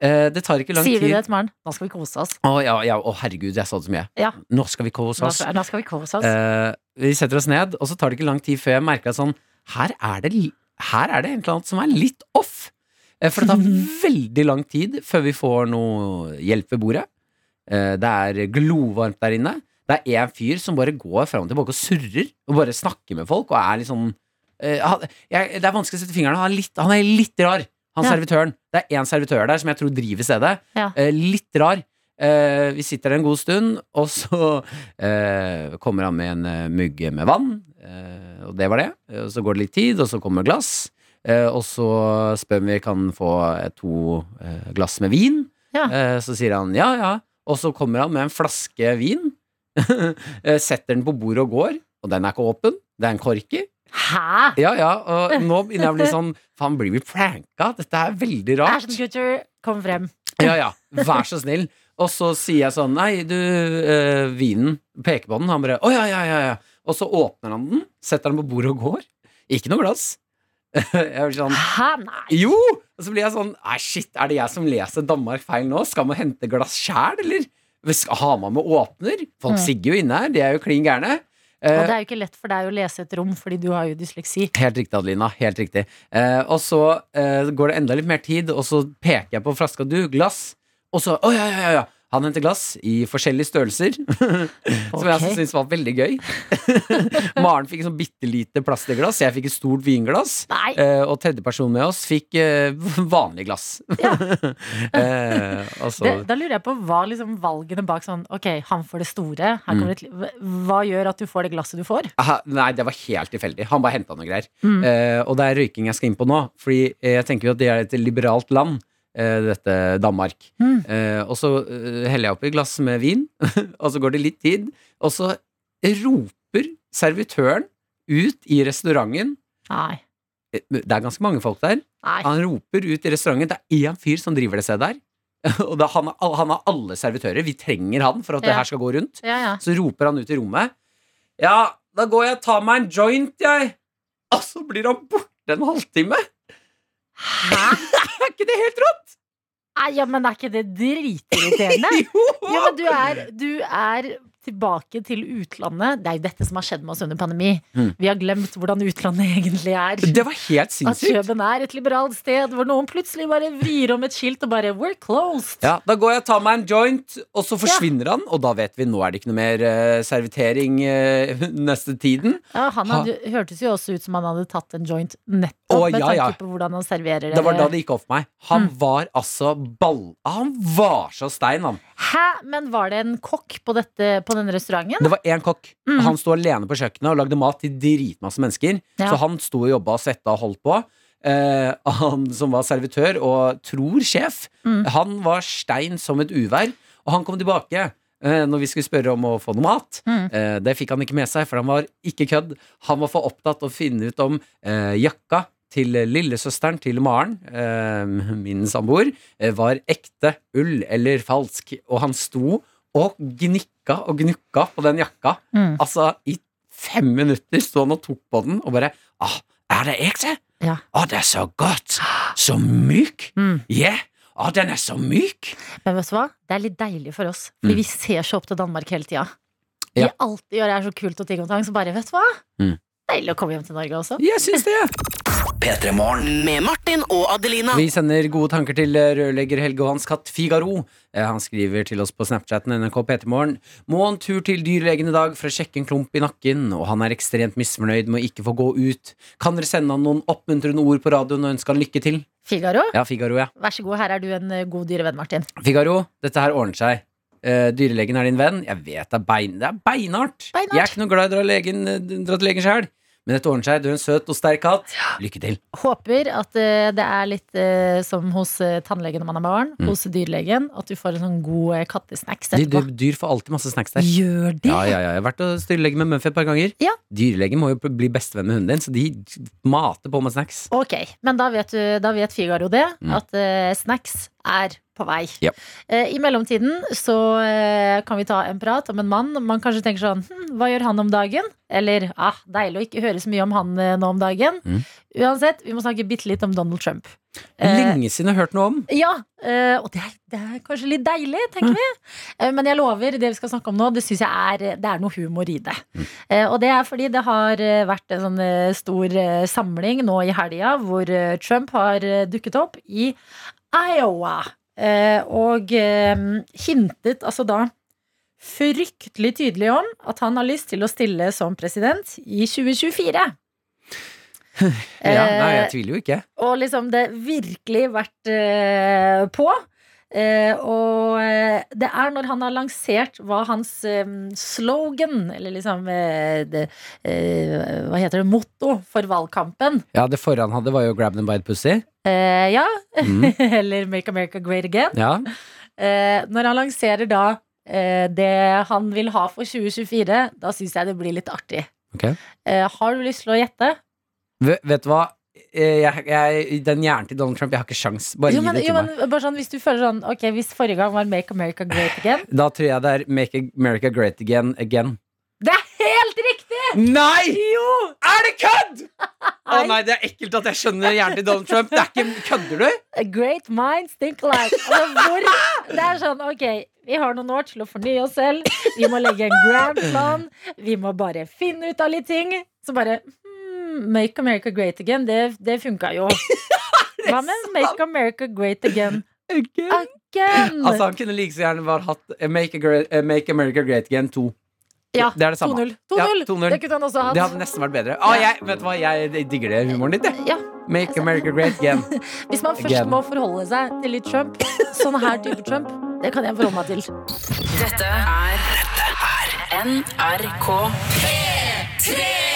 Eh, det tar ikke lang Sier du tid. det til Maren? Nå skal vi kose oss. Å, ja, ja, å, herregud, jeg sa det så mye. Ja. Nå skal vi kose Nå oss. skal, nå skal vi kose oss. Eh, vi setter oss ned, og så tar det ikke lang tid før jeg merker at sånn Her er det, li- her er det et eller annet som er litt off. Eh, for det tar Mhm. veldig lang tid før vi får noe hjelp ved bordet. Eh, det er glovarmt der inne. Det er en fyr som bare går fram og tilbake og surrer, og bare snakker med folk, og er litt sånn eh, han, jeg, Det er vanskelig å sette fingeren Han er litt, han er litt rar, han Ja. servitøren. Det er én servitør der som jeg tror driver stedet. Ja. Eh, litt rar. Eh, vi sitter der en god stund, og så eh, kommer han med en eh, mugge med vann. Eh, og det var det. Eh, Og så går det litt tid, og så kommer glass. Eh, og så spør vi om vi kan få eh, to eh, glass med vin. Ja. Eh, så sier han ja, ja. Og så kommer han med en flaske vin. eh, setter den på bordet og går. Og den er ikke åpen. Det er en kork i. Hæ? Ja, ja. Og nå begynner jeg å bli sånn Faen, blir vi pranka? Dette er veldig rart. Ashton Kutcher, kom frem. Ja, ja, vær så snill Og så sier jeg sånn, nei, du, eh, vinen Peker på den, han bare, å ja, ja, ja, ja Og så åpner han den, setter den på bordet og går Ikke noe glass Jeg blir sånn, Hæ? Nei. jo! Og så blir jeg sånn, nei shit, er det jeg som leser Danmark feil nå? Skal man hente glass kjær, eller? Hvis- Har man med åpner? Folk Mm. sigger jo inne her, de er jo klin gærne Og Eh, det er jo ikke lett for deg å lese et rom, fordi du har jo dysleksi. Helt riktig, Adelina. Helt riktig. Eh, og så eh, går det enda litt mer tid, og så peker jeg på flaska. Du, glass. Og så Å, ja, ja, ja, ja. Han henter glass i forskjellige størrelser, som jeg Ok. syntes var veldig gøy. Maren fikk sånn bitte lite plastglass, jeg fikk et stort vinglass. Nei. Eh, og tredjepersonen med oss fikk eh, vanlig glass. eh, og så Det, da lurer jeg på hva liksom valgene bak sånn Ok, han får det store. Her kommer Mm. det et, li- hva gjør at du får det glasset du får? Aha, Nei, det var helt tilfeldig. Han bare henta noe greier. Mm. Eh, og det er røyking jeg skal inn på nå. Fordi eh, jeg tenker jo at det er et liberalt land, eh, dette Danmark. Mm. Eh, og så eh, heller jeg oppi glass med vin, og så går det litt tid. Og så roper servitøren ut i restauranten Nei. Eh, Det er ganske mange folk der. Nei. Han roper ut i restauranten. Det er én fyr som driver det stedet der. Og det, er han, har all- han har alle servitører. Vi trenger han for at det Ja. her skal gå rundt. Ja, ja. Så roper han ut i rommet Ja, da går jeg og tar meg en joint, jeg Og så blir han borte en halvtime Er ikke det helt rått? Nei, ja, men er ikke det dritirriterende? Jo! Jo, men du er, du er tilbake til utlandet. Det er jo dette som har skjedd med oss under pandemi. Mm. Vi har glemt hvordan utlandet egentlig er. Det var helt At sinnssykt. Kjøben er et liberalt sted hvor noen plutselig bare vrir om et skilt og bare We're closed! Ja, da går jeg og tar meg en joint, og så forsvinner han. Og da vet vi, nå er det ikke noe mer eh, servitering eh, neste tiden. Ja, han hadde, hørtes jo også ut som han hadde tatt en joint nettopp Å, med ja, tanke ja. på hvordan han serverer Det var da eller- det gikk opp for meg. Mm. Han var altså ball... Han var så stein, han. Hæ? Men var det en kokk på, dette, på denne restauranten? Det var én kokk. Mm. Han sto alene på kjøkkenet og lagde mat til dritmasse mennesker. Ja. Så han sto og jobba og svetta og holdt på. Eh, han som var servitør og tror sjef, Mm. han var stein som et uvær. Og han kom tilbake eh, når vi skulle spørre om å få noe mat. Mm. Eh, det fikk han ikke med seg, for han var ikke kødd. Han var for opptatt av å finne ut om eh, jakka til lillesøsteren til Maren, eh, min samboer, eh, var ekte ull eller falsk. Og han sto og gnikka og gnukka på den jakka. Mm. Altså, i fem minutter sto han og tok på den og bare ah, Er det ekte? Ja. Å, det er så godt! Så myk! Mm. Yeah! Å, den er så myk! Men vet du hva? Det er litt deilig for oss, fordi Mm. vi ser så opp til Danmark hele tida. Vi Ja. alltid gjør det er så kult og ting og tang, så bare, vet du hva? Mm. Deilig å komme hjem til Norge også. Jeg syns det. P3 Morgen. Med Martin og Adelina. Vi sender gode tanker til eh, rørlegger Helge og hans katt Figaro. Eh, Han skriver til oss på Snapchaten NRK P3morgen. Må en tur til dyrlegen i dag for å sjekke en klump i nakken, og han er ekstremt misfornøyd med å ikke få gå ut. Kan dere sende han noen oppmuntrende ord på radioen og ønske han lykke til? Figaro, Ja, Figaro, ja. vær så god, her er du en eh, god dyrevenn, Martin. Figaro, dette her ordner seg. Eh, dyrlegen er din venn. Jeg vet det er, bein, det er beinhardt. Beinhardt. Jeg er ikke noe glad i å dra, legen, eh, dra til legen sjøl. Men dette ordner seg. Du er en søt og sterk katt. Lykke til. Håper at eh, det er litt eh, som hos eh, tannlegen når man er barn, Mm. hos dyrlegen, at du får en sånn god eh, kattesnacks De, etterpå. dyr- dyr får alltid masse snacks der. Gjør det? Ja, ja, ja. Jeg har vært hos dyrlege med Muffy et par ganger. Ja. Dyrlegen må jo bli bestevenn med hunden din, så de mater på med snacks. Ok, men da vet, du, da vet Figaro det, Mm. at eh, snacks er på vei. Ja. Eh, I mellomtiden så eh, kan vi ta en prat om en mann. Man kanskje tenker sånn hm, Hva gjør han om dagen? Eller ah, deilig å ikke høre så mye om han eh, nå om dagen. Mm. Uansett, vi må snakke bitte litt om Donald Trump. Eh, Lenge siden jeg har hørt noe om. ja, eh, og det er, det er kanskje litt deilig, tenker vi. Eh, Men jeg lover, det vi skal snakke om nå, det syns jeg er, det er noe humor i det. Eh, Og det er fordi det har eh, vært en sånn eh, stor eh, samling nå i helga hvor eh, Trump har eh, dukket opp i Iowa. eh, Og eh, hintet altså da fryktelig tydelig om at han har lyst til å stille som president i 2024. Ja, nei, Eh, jeg tviler jo ikke. og liksom det virkelig vært eh, på. Eh, og eh, det er når han har lansert hva hans eh, slogan, eller liksom eh, det, eh, Hva heter det? Motto for valgkampen. Ja, Det forrige han hadde, var jo 'grab them by the pussy'. Eh, ja, Mm. eller Make America Great Again. Ja. Eh, når han lanserer da eh, det han vil ha for 2024, da syns jeg det blir litt artig. Ok. Eh, har du lyst til å gjette? V vet du hva? Eh, Jeg, jeg, den hjernen til Donald Trump, jeg har ikke sjans. Bare Jo, gi men, det til jo, meg. men bare sånn, hvis du føler sånn Ok, hvis forrige gang var Make America Great Again Da tror jeg det er 'Make America Great Again Again'. Det er helt riktig! Nei! Er det kødd?! Å nei, det er ekkelt at jeg skjønner hjernen til Donald Trump. Det er ikke, Kødder du? A great minds think alike. Altså, hvor, det er sånn, ok, vi har noen år til å fornye oss selv. Vi må legge en grand plan. Vi må bare finne ut av litt ting. Så bare hmm, Make America Great Again, det, det funka jo. Hva med Make America Great Again? Again! Altså Han kunne like så gjerne bare hatt eh, Make, a great, eh, Make America Great Again 2. ja, det er det samme. 2-0. Ja, 2-0. 2-0. Det kunne han også Det hadde hatt. nesten vært bedre. Ah, jeg, vet du hva, jeg digger det humoren ditt. jeg. Ja, Make America Great Again. hvis man først Again. må forholde seg til litt Trump, sånn her type Trump, det kan jeg forholde meg til. Dette er NRK.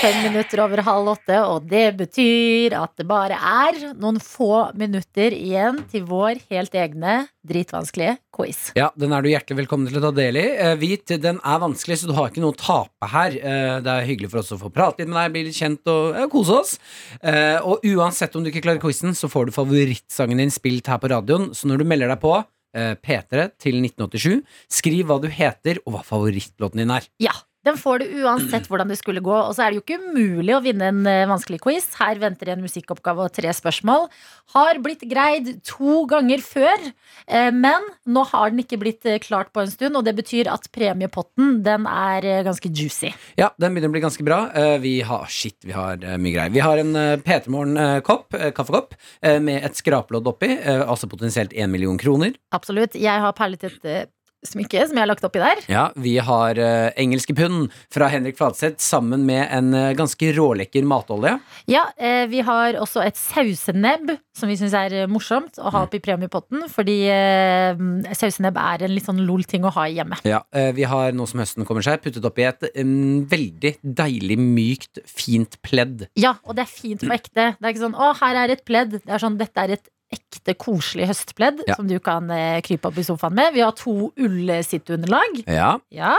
Fem minutter over halv åtte, og det betyr at det bare er noen få minutter igjen til vår helt egne dritvanskelige quiz. Ja, Den er du hjertelig velkommen til å ta del i. Eh, Vit, den er vanskelig, så du har ikke noe å tape her. Eh, Det er hyggelig for oss å få prate litt med deg, bli litt kjent og eh, kose oss. Eh, Og uansett om du ikke klarer quizen, så får du favorittsangen din spilt her på radioen. Så når du melder deg på eh, P3 til 1987, skriv hva du heter og hva favorittlåten din er. Ja, Den får du uansett hvordan det skulle gå. Og så er det jo ikke umulig å vinne en eh, vanskelig quiz. Her venter en musikkoppgave og tre spørsmål. Har blitt greid to ganger før, eh, men nå har den ikke blitt eh, klart på en stund. Og det betyr at premiepotten, den er eh, ganske juicy. Ja, den begynner å bli ganske bra. Eh, Vi har, shit, vi har eh, mye greier. Vi har en eh, P3 Morgen-kopp, kaffekopp, eh, med et skraplodd oppi, eh, altså potensielt én million kroner. Absolutt. Jeg har perlet et eh, smykke som jeg har lagt oppi der. Ja, vi har eh, engelske pund fra Henrik Fladseth sammen med en eh, ganske rålekker matolje. Ja, eh, Vi har også et sausenebb, som vi syns er eh, morsomt å ha oppi premiepotten. Fordi eh, sausenebb er en litt sånn lol-ting å ha i hjemmet. Ja, eh, vi har noe som høsten kommer seg, puttet oppi et mm, veldig deilig, mykt, fint pledd. Ja, og det er fint på ekte. Det er ikke sånn 'Å, her er et pledd'. Det er sånn, Dette er et ekte koselig høstpledd Ja. som du kan eh, krype opp i sofaen med. Vi har to ullsitteunderlag. Ja, Ja.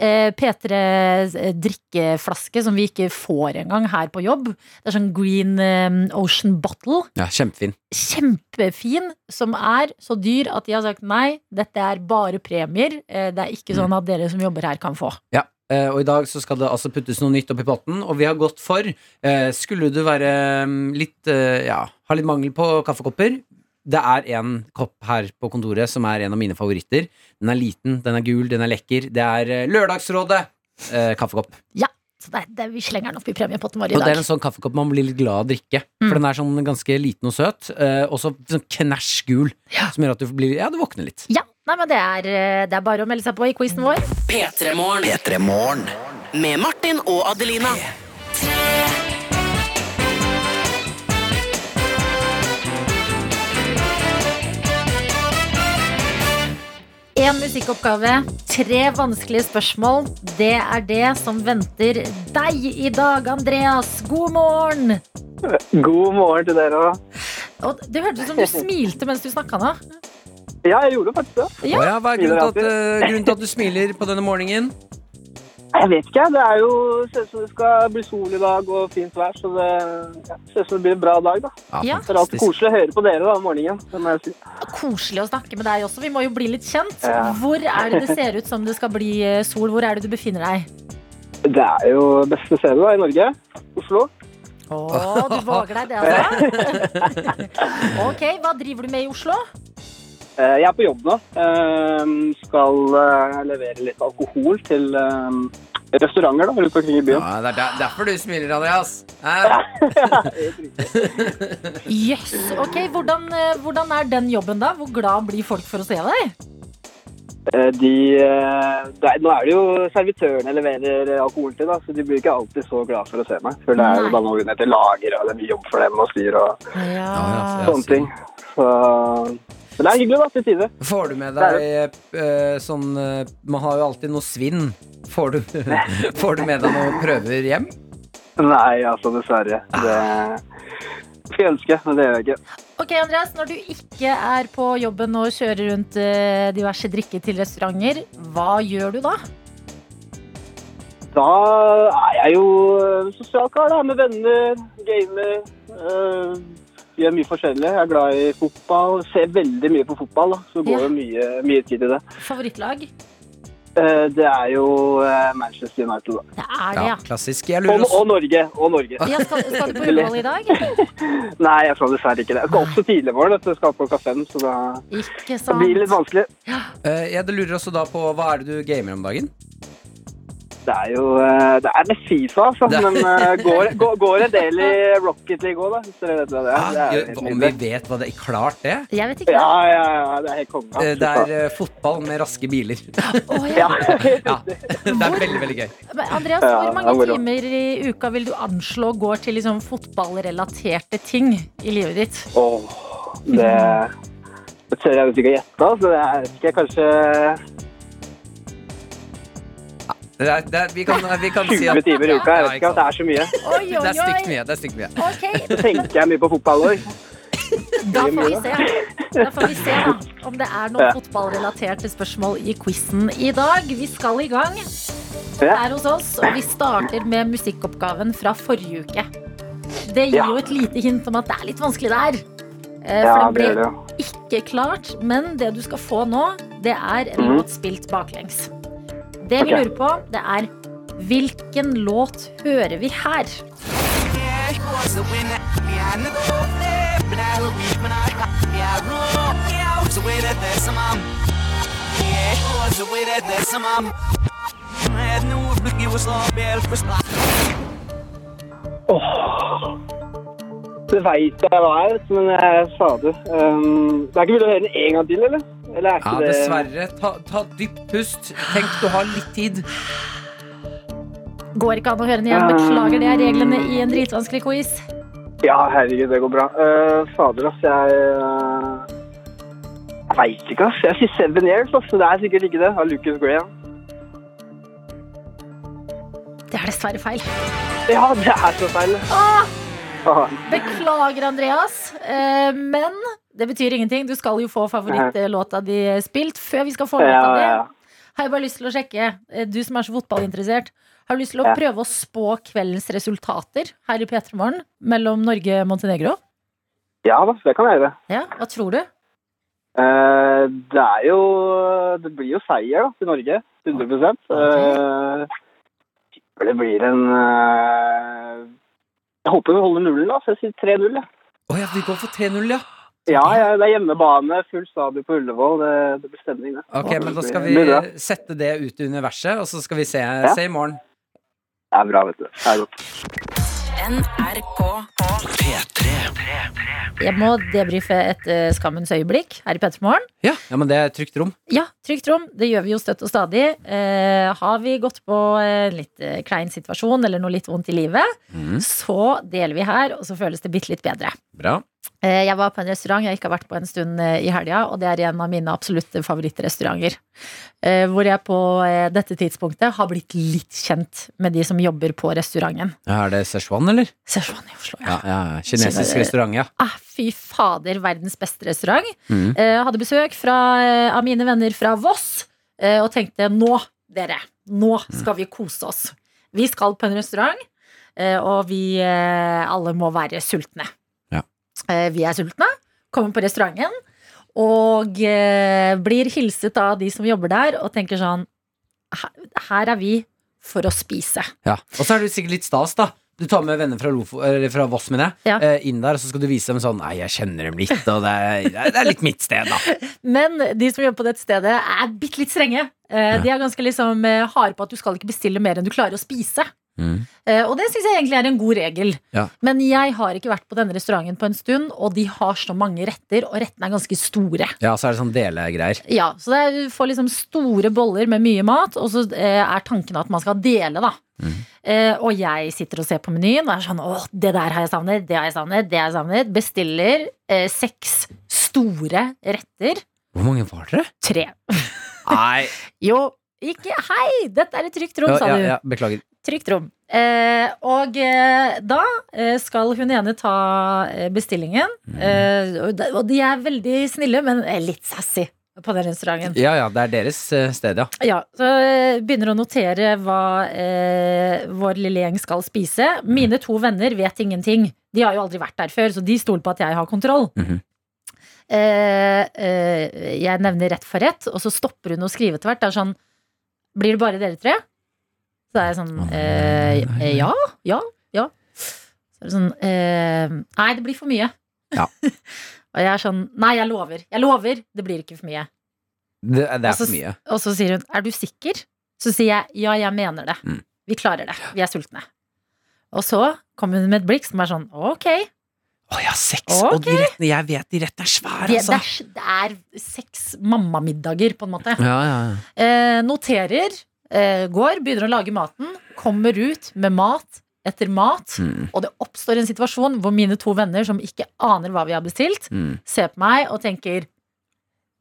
Eh, P3s eh, drikkeflaske som vi ikke får engang her på jobb. Det er sånn Green eh, Ocean Bottle. ja kjempefin. kjempefin, som er så dyr at de har sagt nei, dette er bare premier. Eh, Det er Mm. ikke sånn at dere som jobber her kan få. Ja. eh, Og i dag så skal det altså puttes noe nytt oppi potten, og vi har gått for eh, Skulle du være mm, litt eh, Ja, ha litt mangel på kaffekopper. Det er en kopp her på kontoret som er en av mine favoritter. Den er liten, den er gul, den er lekker. Det er eh, Lørdagsrådet eh, kaffekopp. Så det, det, vi slenger den opp i premiepotten vår i Og det dag. er en sånn kaffekopp man blir litt glad av å drikke. Mm. For den er sånn ganske liten og søt, eh, og så sånn knæsj gul. Ja. Som gjør at du blir Ja, du våkner litt. Ja, nei, men det er, eh, det er bare å melde seg på i quizen vår. P3-morgen P3 Morgen. med Martin og Adelina. Én musikkoppgave, tre vanskelige spørsmål. Det er det som venter deg i dag, Andreas. God morgen! God morgen til dere òg. Og det hørtes ut som du smilte mens du snakka nå. Ja, jeg gjorde faktisk det. Ja. Å ja, hva er grunnen til, at, eh, grunnen til at du smiler på denne morgenen? Jeg vet ikke, jeg. det er jo ser ut som det skal bli sol i dag og fint vær, så det ja, ser ut som det blir en bra dag, da. Ja. Det er alltid koselig å høre på dere da, om morgenen. Det må jeg si. Koselig å snakke med deg også. Vi må jo bli litt kjent. Ja. Hvor er det det ser ut som det skal bli eh, sol? Hvor er det du befinner deg? Det er jo beste stedet da, i Norge. Oslo. Å, du våger deg det, altså? ok, hva driver du med i Oslo? Eh, Jeg er på jobb nå. Eh, Skal eh, levere litt alkohol til eh, restauranter da, rundt omkring i byen. Ja, det er der- derfor du smiler, Andreas. Eh, Jøss. Ok, hvordan, eh, hvordan er den jobben, da? Hvor glad blir folk for å se deg? Eh, De, eh, det er, nå er det jo servitørene jeg leverer alkohol til, da, så de blir ikke alltid så glad for å se meg. For det er Nei. jo da noen etter lager, og det er mye jobb for dem og styr og Ja, ja, ja. sånne ting. Så... Men det er hyggelig, da, til tider. Får du med deg eh, sånn eh, Man har jo alltid noe svinn. Får du, får du med deg noen prøver hjem? Nei, altså, dessverre. Det skulle jeg ønske, men det gjør jeg ikke. Ok, Andreas, når du ikke er på jobben og kjører rundt eh, diverse drikker til restauranter, hva gjør du da? Da er jeg jo en sosial kar, da, med venner, gamer. øh, gjør mye forskjellig. Jeg er glad i fotball. Ser veldig mye på fotball, da, så det går Ja. jo mye, mye tid i det. Favorittlag? Eh, det er jo eh, Manchester United, da. Det er det, Ja, ja. klassisk. Jeg Og, lurer Ah. også og Norge. Og Norge. ja skal, skal du på Ullevål i dag? Nei, jeg skal dessverre ikke det. Jeg skal opp så tidlig i morgen. vet du. Jeg skal på Kaffen, så da Ikke Sånn. det blir litt sant. vanskelig. eh, Jeg lurer også da på hva er det du gamer om dagen? Det er jo eh, Det er mest Fifa, altså. Det- Men eh, går, går, går en del i Rocket League òg, da. Hvis dere vet hva det er. Det Ah, er jo gjør- helt om vi nydelig. vet hva det er klart, det? Jeg vet ikke. Ja, ja, ja. Det er helt konge. altså. Eh, absolutt, Det er da. eh, fotball med raske biler. Å, ja. Ja. Ja, det er veldig, veldig gøy. Men Andreas, Ja, hvor det er mange moro. timer i uka vil du anslå går til liksom fotballrelaterte ting i livet ditt? Åh, det Det tør jeg nesten ikke å gjette, altså. Det er ikke jeg kanskje Det er, det er, vi, kan, vi kan si at 20 timer i Ja, uka. Jeg vet ikke ikke at det er så mye. Oi, Det er stygt mye. det er stygt mye Ok, Så tenker jeg mye på fotball òg. da får vi se. Da får vi se da, om det er noen fotballrelaterte spørsmål i quizen i dag. Vi skal i gang Ja. her hos oss, og vi starter med musikkoppgaven fra forrige uke. Det gir Ja. jo et lite hint om at det er litt vanskelig der. Eh, ja, For den det gjør ble det jo. ikke klart, men det du skal få nå, det er en Mhm. låt spilt baklengs. Det vi Ok. lurer på, det er Hvilken låt hører vi her? Det veit jeg hva er, men jeg sa det. Um, det er ikke mulig å høre den en gang til, eller? Eller er Ja, ikke det dessverre. Ta, ta dypt pust. Tenk, du har litt tid. Går ikke an å høre den igjen. Beklager, det er reglene i en dritvanskelig quiz. Ja, herregud, det går bra. Eh, fader, ass, jeg eh, Jeg veit ikke, ass. Jeg sier Seven Years, ass. men Det er sikkert ikke det. Av Lucas Graham. Det er dessverre feil. Ja, det er så feil. Ah, Beklager, Andreas. Eh, Men det betyr ingenting. Du skal jo få favorittlåta di spilt før vi skal få ja, låta ja, di. ja. Har jeg bare lyst til å sjekke, eh, du som er så fotballinteressert, har du lyst til å Ja. prøve å spå kveldens resultater her i P3 Morgen mellom Norge og Montenegro? ja da, det kan jeg gjøre. Ja, hva tror du? Eh, det er jo Det blir jo seier da, til Norge. 100 Eh, Tipper det blir en eh, Jeg håper vi holder nullen, da, så jeg sier 3-0. jeg. Å ja, vi går for 3-0, ja. Ja, ja, det er hjemmebane, full stadion på Ullevål. Det, det blir stemning, det. Ok, men Da skal vi Blir bra. sette det ut i universet, og så skal vi se, se i morgen. Det er bra, vet du. Det er godt. NRK. Jeg må debrife et eh, skammens øyeblikk her i P3 Morgen. Ja, ja men det er et trygt rom. Ja, trygt rom. Det gjør vi jo støtt og stadig. Eh, har vi gått på en litt eh, klein situasjon eller noe litt vondt i livet, så deler vi her, og så føles det bitte litt bedre. Bra. Eh, Jeg var på en restaurant jeg ikke har vært på en stund eh, i helga, og det er en av mine absolutte favorittrestauranter. Eh, Hvor jeg på eh, dette tidspunktet har blitt litt kjent med de som jobber på restauranten. Ja, er det Szechuan, eller? Szechuan i Oslo, ja. Ja, ja, ja. Kinesisk restaurant, ja. Ah, fy fader, verdens beste restaurant. Mm. Mhm. Eh, hadde besøk fra, eh, av mine venner fra Voss, eh, og tenkte nå, dere, nå skal vi kose oss. Vi skal på en restaurant, eh, og vi eh, alle må være sultne. Ja. Eh, vi er sultne, kommer på restauranten, og eh, blir hilset av de som jobber der, og tenker sånn, "Her- her er vi for å spise. ja. Og så er det jo sikkert litt stas, da. Du tar med venner fra, Lofo, eller fra Voss, mener jeg, Ja. eh, inn der, og så skal du vise dem sånn Nei, jeg kjenner dem litt, og det er, det er litt mitt sted, da. Men de som jobber på dette stedet, er bitte litt strenge. Eh, De er ganske liksom eh, harde på at du skal ikke bestille mer enn du klarer å spise. Mm. Eh, Og det syns jeg egentlig er en god regel. Ja. Men jeg har ikke vært på denne restauranten på en stund, og de har så mange retter, og rettene er ganske store. Ja, så er det sånn delegreier. Ja, Så det er, du får liksom store boller med mye mat, og så eh, er tanken at man skal dele, da. Mm. Eh, og jeg sitter og ser på menyen og er sånn åh, det der har jeg savnet, det har jeg savnet, det har jeg savnet. Bestiller eh, seks store retter. Hvor mange var dere? Tre. Nei, Jo, ikke Hei, dette er et trygt rom, ja, sa ja, du. ja, beklager. Trygt rom. Eh, og eh, da eh, skal hun ene ta eh, bestillingen. Mm. Eh, og de- og de er veldig snille, men eh, litt sassy på den restauranten. Ja ja, det er deres eh, sted, ja. Ja, så eh, begynner å notere hva eh, vår lille gjeng skal spise. Mine to venner vet ingenting. De har jo aldri vært der før, så de stoler på at jeg har kontroll. Mhm. eh, eh, jeg nevner rett for rett, og så stopper hun å skrive etter hvert. Det er sånn Blir det bare dere tre? Så er jeg sånn eh, eh, Ja, ja, ja. Så er det sånn eh, Nei, det blir for mye. Ja. og jeg er sånn Nei, jeg lover. Jeg lover. Det blir ikke for mye. Det, det er Altså, for mye. Og så sier hun, er du sikker? Så sier jeg, ja, jeg mener det. Mm. Vi klarer det. Vi er sultne. Og så kom hun med et blikk som er sånn, ok. Å ja, seks! Ok. Og de rettene jeg vet, de rettene er svære, Det, det, altså. er, det er seks mammamiddager, på en måte. Ja, ja, ja. Eh, noterer, eh, går, begynner å lage maten, kommer ut med mat etter mat, Mm. og det oppstår en situasjon hvor mine to venner, som ikke aner hva vi har bestilt, Mm. ser på meg og tenker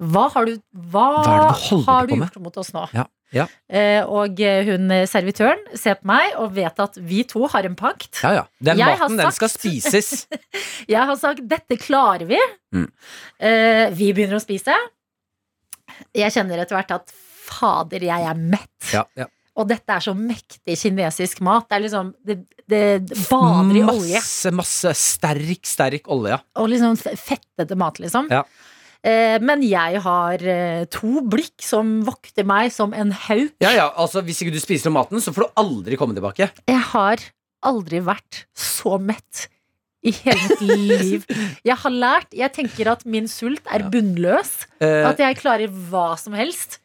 Hva har du, hva Hva er det du holder har du på med? gjort mot oss nå? Ja, ja. Eh, og eh, hun eh, servitøren ser på meg og vet at vi to har en pakt. Ja, ja. Den Jeg har maten, den skal sagt- spises. Jeg har sagt 'dette klarer vi'. Mm. Eh, vi begynner å spise. Jeg kjenner etter hvert at fader, jeg er mett. Ja, ja. Og dette er så mektig kinesisk mat. Det er liksom Det, det bader i olje. Masse, masse sterk, sterk olje. ja. Og liksom f- fettete mat, liksom. Ja. Eh, men jeg har eh, to blikk som vokter meg som en hauk. Ja, ja, altså Hvis ikke du spiser opp maten, så får du aldri komme tilbake. Jeg har aldri vært så mett i hele mitt liv. Jeg har lært Jeg tenker at min sult er bunnløs. Eh, At jeg klarer hva som helst.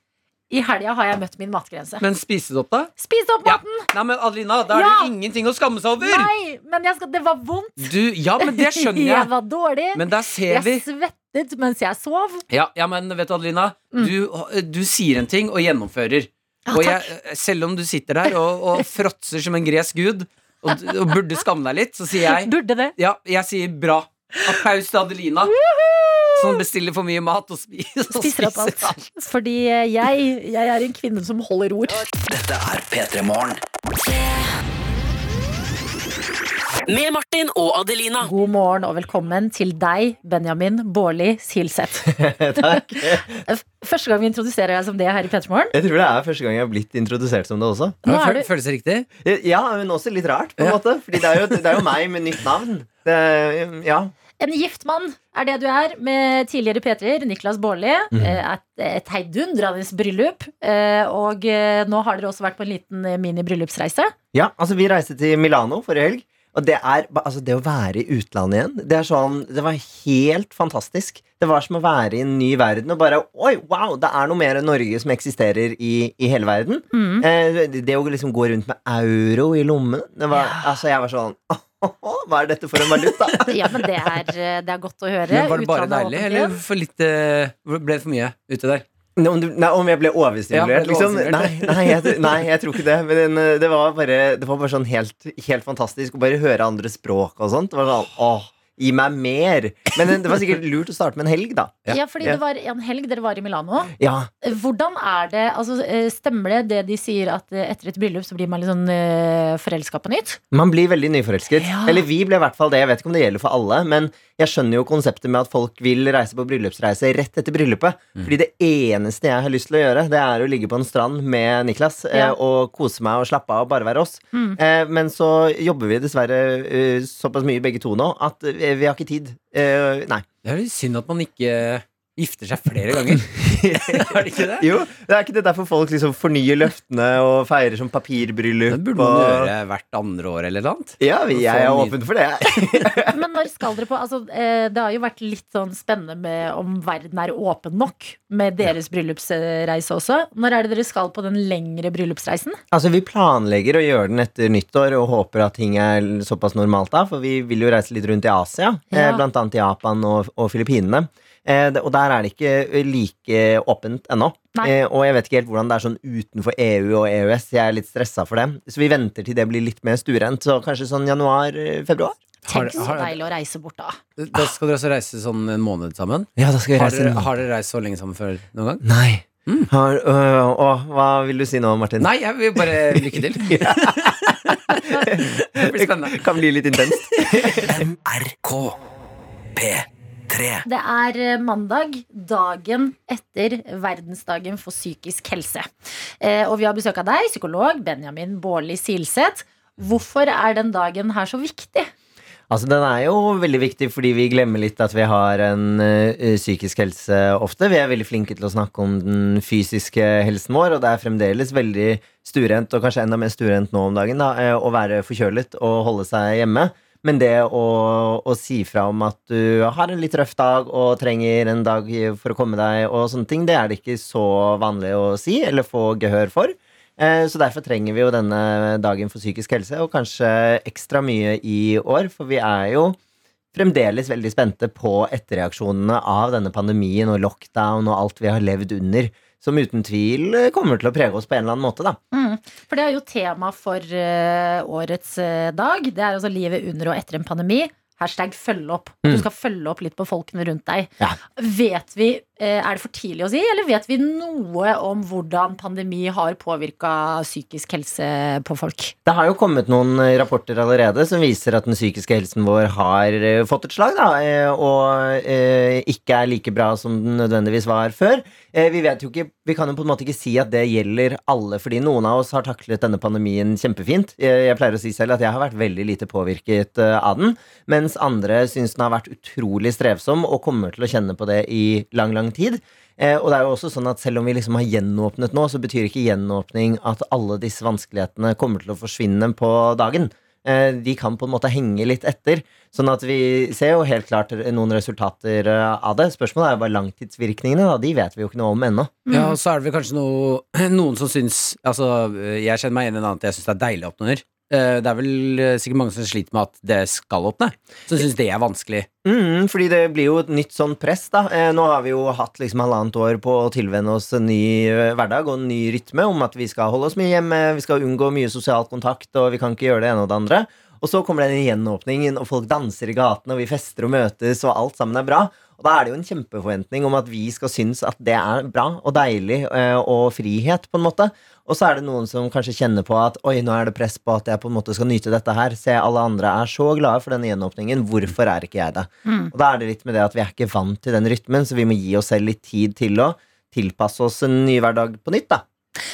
I helga har jeg møtt min matgrense. men spise det opp, da? Spis opp Ja. maten! Nei, men Adelina, da er Ja. det jo ingenting å skamme seg over! Nei, men jeg skal, det var vondt. Du, ja, men det skjønner Jeg jeg. var dårlig. Men der ser vi Jeg svettet mens jeg sov. Ja, ja men vet du, Adelina. Mm. Du, eh, du sier en ting og gjennomfører. og jeg, eh, selv om du sitter der og, og fråtser som en gresk gud og, og burde skamme deg litt, så sier jeg Burde det. Ja, jeg sier bra. Applaus til Adelina. Som bestiller for mye mat og spiser, og Spiser opp alt. Fordi eh, jeg, jeg er en kvinne som holder ord. Dette er P3 Morgen. Med Martin og Adelina. God morgen og velkommen til deg, Benjamin Bårli Silseth. Takk. F- Første gang vi introduserer deg som det her i Petermorgen. Jeg tror det er første gang jeg har blitt introdusert som det også. Nå er du Føles det riktig? Ja, men også litt rart, på en måte. Fordi det er jo, det er jo meg med nytt navn. Det, er- ja. en gift mann, er det du er, med tidligere Peter, Niklas Bårli. eh, Et, et heidundrende bryllup. eh, Og eh, nå har dere også vært på en liten eh, mini-bryllupsreise. ja, altså vi reiste til Milano forrige helg. Og det er ba- altså det å være i utlandet igjen, det er sånn Det var helt fantastisk. Det var som å være i en ny verden og bare Oi, wow! Det er noe mer enn Norge som eksisterer i, i hele verden. Mhm. Eh, det- det å liksom gå rundt med euro i lommen det var, Altså, jeg var sånn Hva er dette for en valuta? Ja, men det er, eh, det er godt å høre. Men var det bare Utlandet er deilig, åpent eller igjen. for litt, eh, ble det for mye ute der? Nei, Om, du, nei, om jeg ble Ja, overstimulert, ble du liksom? Nei, overstimulert? nei, jeg, tr- nei, jeg tror ikke det. Men den, eh, det, var bare, det var bare sånn helt, helt fantastisk å bare høre andre språk og sånt. Det var sånn, åh, gi meg mer. Men eh, det var sikkert lurt å starte med en helg, da. Ja, fordi det var en helg dere var i Milano. Ja, Eh, Hvordan er det, altså eh, Stemmer det det de sier at eh, etter et bryllup så blir man litt sånn eh, forelska på nytt? Man blir veldig nyforelsket. Ja. Eller vi ble i hvert fall det. Jeg vet ikke om det gjelder for alle, men jeg skjønner jo konseptet med at folk vil reise på bryllupsreise rett etter bryllupet. Fordi det eneste jeg har lyst til å gjøre, det er å ligge på en strand med Niklas Ja. eh, og kose meg og slappe av og bare være oss. Eh, men så jobber vi dessverre eh, såpass mye begge to nå at eh, vi har ikke tid. Eh, nei. Det er jo synd at man ikke gifter seg flere ganger. er det ikke det? Jo, det er ikke det derfor folk liksom fornyer løftene og feirer som papirbryllup. Det burde man og- gjøre hvert andre år eller noe annet. Ja, vi- jeg er åpen for det. Men når skal dere på altså, eh, Det har jo vært litt sånn spennende med om verden er åpen nok med deres bryllupsreise også. Når er det dere skal på den lengre bryllupsreisen? Altså, Vi planlegger å gjøre den etter nyttår og håper at ting er såpass normalt da. For vi vil jo reise litt rundt i Asia, Ja. eh, blant annet til Japan og, og Filippinene. Eh, det- og der er det ikke eh, like åpent ennå. Nei. Eh, og jeg vet ikke helt hvordan det er sånn utenfor EU og EØS. Jeg er litt stressa for det. Så vi venter til det blir litt mer stuerent. Så kanskje sånn januar-februar? Har- Tenk så har- deilig å reise bort da. Da skal dere også reise sånn en måned sammen? Ja, da skal Har dere, har dere reist så lenge sammen før noen gang? Nei. Har, øh, å, hva vil du si nå, Martin? Mm. Nei, jeg vil bare lykke til. det blir spennende. Det kan bli litt intenst. NRK P3. Det er eh, mandag, dagen etter verdensdagen for psykisk helse. Eh, og vi har besøk av deg, psykolog Benjamin Baarli Silseth. Hvorfor er den dagen her så viktig? Altså, Den er jo veldig viktig fordi vi glemmer litt at vi har en ø, psykisk helse ofte. Vi er veldig flinke til å snakke om den fysiske helsen vår, og det er fremdeles veldig stuerent, og kanskje enda mer stuerent nå om dagen, da, ø, å være forkjølet og holde seg hjemme. Men det å, å si fra om at du har en litt røff dag og trenger en dag for å komme deg, og sånne ting, det er det ikke så vanlig å si eller få gehør for. Eh, Så derfor trenger vi jo denne dagen for psykisk helse, og kanskje ekstra mye i år, for vi er jo fremdeles veldig spente på etterreaksjonene av denne pandemien og lockdown og alt vi har levd under, som uten tvil eh, kommer til å prege oss på en eller annen måte, da. Mm. For det er jo tema for eh, årets eh, dag. Det er altså livet under og etter en pandemi. Hashtag følge opp. Du skal følge opp litt på folkene rundt deg. Ja. Vet vi eh, er det for tidlig å si, eller vet vi noe om hvordan pandemi har påvirka psykisk helse på folk? Det har jo kommet noen eh, rapporter allerede som viser at den psykiske helsen vår har eh, fått et slag, da, eh, og eh, ikke er like bra som den nødvendigvis var før. Eh, Vi vet jo ikke, vi kan jo på en måte ikke si at det gjelder alle, fordi noen av oss har taklet denne pandemien kjempefint. Eh, Jeg pleier å si selv at jeg har vært veldig lite påvirket eh, av den, mens andre syns den har vært utrolig strevsom og kommer til å kjenne på det i lang, lang tid. Eh, og det er jo også sånn at Selv om vi liksom har gjenåpnet nå, så betyr ikke gjenåpning at alle disse vanskelighetene kommer til å forsvinne på dagen. Eh, de kan på en måte henge litt etter. Sånn at vi ser jo helt klart noen resultater eh, av det. Spørsmålet er jo bare langtidsvirkningene. da, De vet vi jo ikke noe om ennå. Ja, og så er det vel kanskje noe, noen som syns Altså, jeg kjenner meg igjen i en annen Jeg syns det er deilig å åpne under. Eh, Det er vel eh, sikkert mange som sliter med at det skal åpne. Som syns det er vanskelig. Mm, fordi det blir jo et nytt sånn press, da. Eh, nå har vi jo hatt liksom halvannet år på å tilvenne oss en ny eh, hverdag og en ny rytme om at vi skal holde oss mye hjemme, vi skal unngå mye sosial kontakt, og vi kan ikke gjøre det ene og det andre. Og så kommer den gjenåpningen, og folk danser i gatene, og vi fester og møtes, og alt sammen er bra. Og da er det jo en kjempeforventning om at vi skal synes at det er bra og deilig eh, og frihet, på en måte. Og så er det noen som kanskje kjenner på at oi, nå er det press på at jeg på en måte skal nyte dette her. Se, alle andre er så glade for denne gjenåpningen. Hvorfor er ikke jeg det? Mm. Og da er det litt med det at vi er ikke vant til den rytmen, så vi må gi oss selv litt tid til å tilpasse oss en ny hverdag på nytt, da.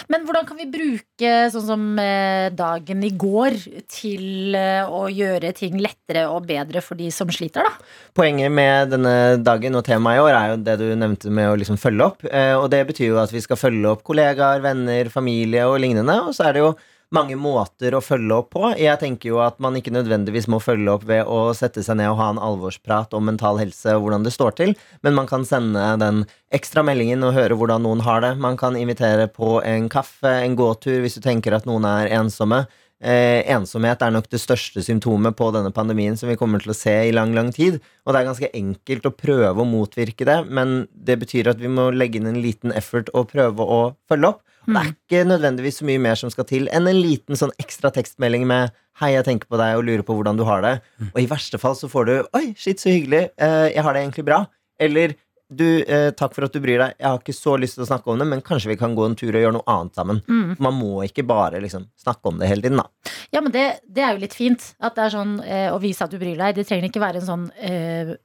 Men hvordan kan vi bruke sånn som eh, dagen i går til eh, å gjøre ting lettere og bedre for de som sliter, da? Poenget med denne dagen og temaet i år er jo det du nevnte med å liksom følge opp. eh, Og det betyr jo at vi skal følge opp kollegaer, venner, familie og lignende. Og så er det jo mange måter å følge opp på. Jeg tenker jo at man ikke nødvendigvis må følge opp ved å sette seg ned og ha en alvorsprat om mental helse og hvordan det står til, men man kan sende den ekstra meldingen og høre hvordan noen har det. Man kan invitere på en kaffe, en gåtur, hvis du tenker at noen er ensomme. Eh, ensomhet er nok det største symptomet på denne pandemien som vi kommer til å se i lang, lang tid. Og det er ganske enkelt å prøve å motvirke det, men det betyr at vi må legge inn en liten effort og prøve å følge opp. Og det er ikke nødvendigvis så mye mer som skal til enn en liten sånn ekstra tekstmelding med Hei, jeg tenker på deg og lurer på hvordan du har det. Og i verste fall så får du Oi, shit, så hyggelig. Eh, jeg har det egentlig bra. Eller du, eh, takk for at du bryr deg. Jeg har ikke så lyst til å snakke om det, men kanskje vi kan gå en tur og gjøre noe annet sammen. Mm. Man må ikke bare liksom snakke om det hele tiden, da. Ja, men det, det er jo litt fint. At det er sånn eh, å vise at du bryr deg. Det trenger ikke være en sånn eh,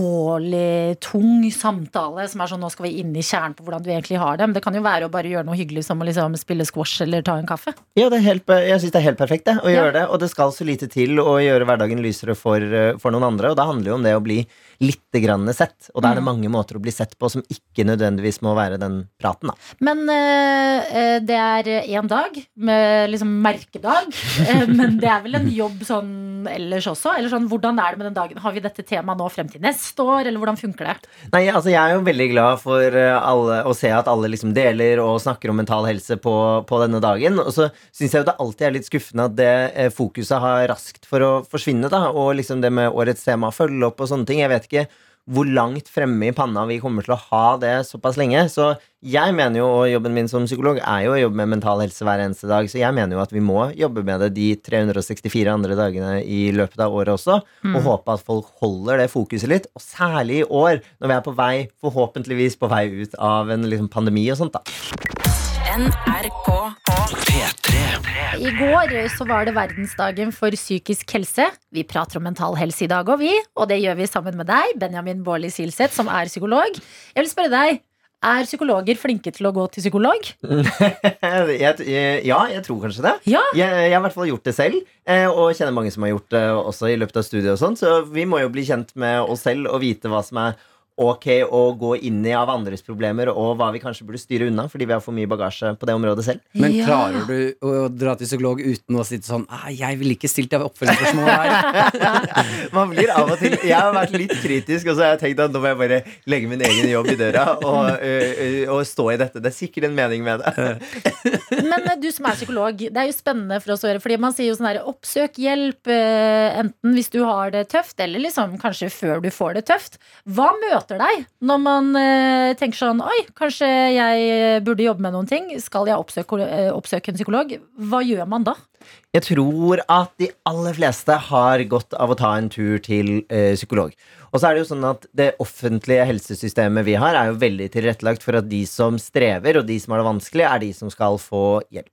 alvorlig, tung samtale som er sånn nå skal vi inn i kjernen på hvordan du egentlig har det. Men det kan jo være å bare gjøre noe hyggelig som å liksom spille squash eller ta en kaffe. Ja, det er helt, per- jeg syns det er helt perfekt det, å Ja. gjøre det. Og det skal så lite til å gjøre hverdagen lysere for, eh, for noen andre. Og det handler jo om det å bli litt grann sett. Og da er det mange måter å bli sett på som ikke nødvendigvis må være den praten, da. Men eh, eh, det er én dag, med liksom merkedag. Eh, men det er vel en jobb sånn ellers også? Eller sånn, hvordan er det med den dagen? Har vi dette temaet nå frem til neste år, eller hvordan funker det? Nei, altså Jeg er jo veldig glad for eh, alle, å se at alle liksom deler og snakker om mental helse på, på denne dagen. Og så syns jeg jo det alltid er litt skuffende at det eh, fokuset har raskt for å forsvinne. da Og liksom det med årets tema, følge opp og sånne ting. Jeg vet ikke hvor langt fremme i panna vi kommer til å ha det såpass lenge. Så jeg mener jo, og jobben min som psykolog er jo å jobbe med mental helse hver eneste dag, så jeg mener jo at vi må jobbe med det de 364 andre dagene i løpet av året også, og håpe at folk holder det fokuset litt, og særlig i år, når vi er på vei, forhåpentligvis på vei ut av en liksom, pandemi og sånt, da. NRK I går så var det verdensdagen for psykisk helse. Vi prater om mental helse i dag òg, vi. Og det gjør vi sammen med deg, Benjamin Baarli Silseth, som er psykolog. Jeg vil spørre deg, er psykologer flinke til å gå til psykolog? jeg, t- eh, ja, jeg tror kanskje det. Ja. Jeg, jeg har i hvert fall gjort det selv, eh, og kjenner mange som har gjort det også i løpet av studiet. og sånn, Så vi må jo bli kjent med oss selv og vite hva som er ok å gå inn i av andres problemer, og hva vi kanskje burde styre unna, fordi vi har for mye bagasje på det området selv. Men Ja. klarer du å dra til psykolog uten å sitte sånn «Nei, 'Jeg ville ikke stilt deg oppfølgingsspørsmål her'? Man blir av og til Jeg har vært litt kritisk, og så har jeg tenkt at nå må jeg bare legge min egen jobb i døra og, eh, eh, og stå i dette. Det er sikkert en mening med det. Men eh, du som er psykolog, det er jo spennende for oss å høre. Fordi man sier jo sånn her oppsøk hjelp, eh, enten hvis du har det tøft, eller liksom kanskje før du får det tøft. Hva møter møter deg når man eh, tenker sånn Oi, kanskje jeg eh, burde jobbe med noen ting. Skal jeg oppsøke, eh, oppsøke en psykolog? Hva gjør man da? Jeg tror at de aller fleste har godt av å ta en tur til eh, psykolog. Og så er det jo sånn at det offentlige helsesystemet vi har, er jo veldig tilrettelagt for at de som strever, og de som har det vanskelig, er de som skal få hjelp.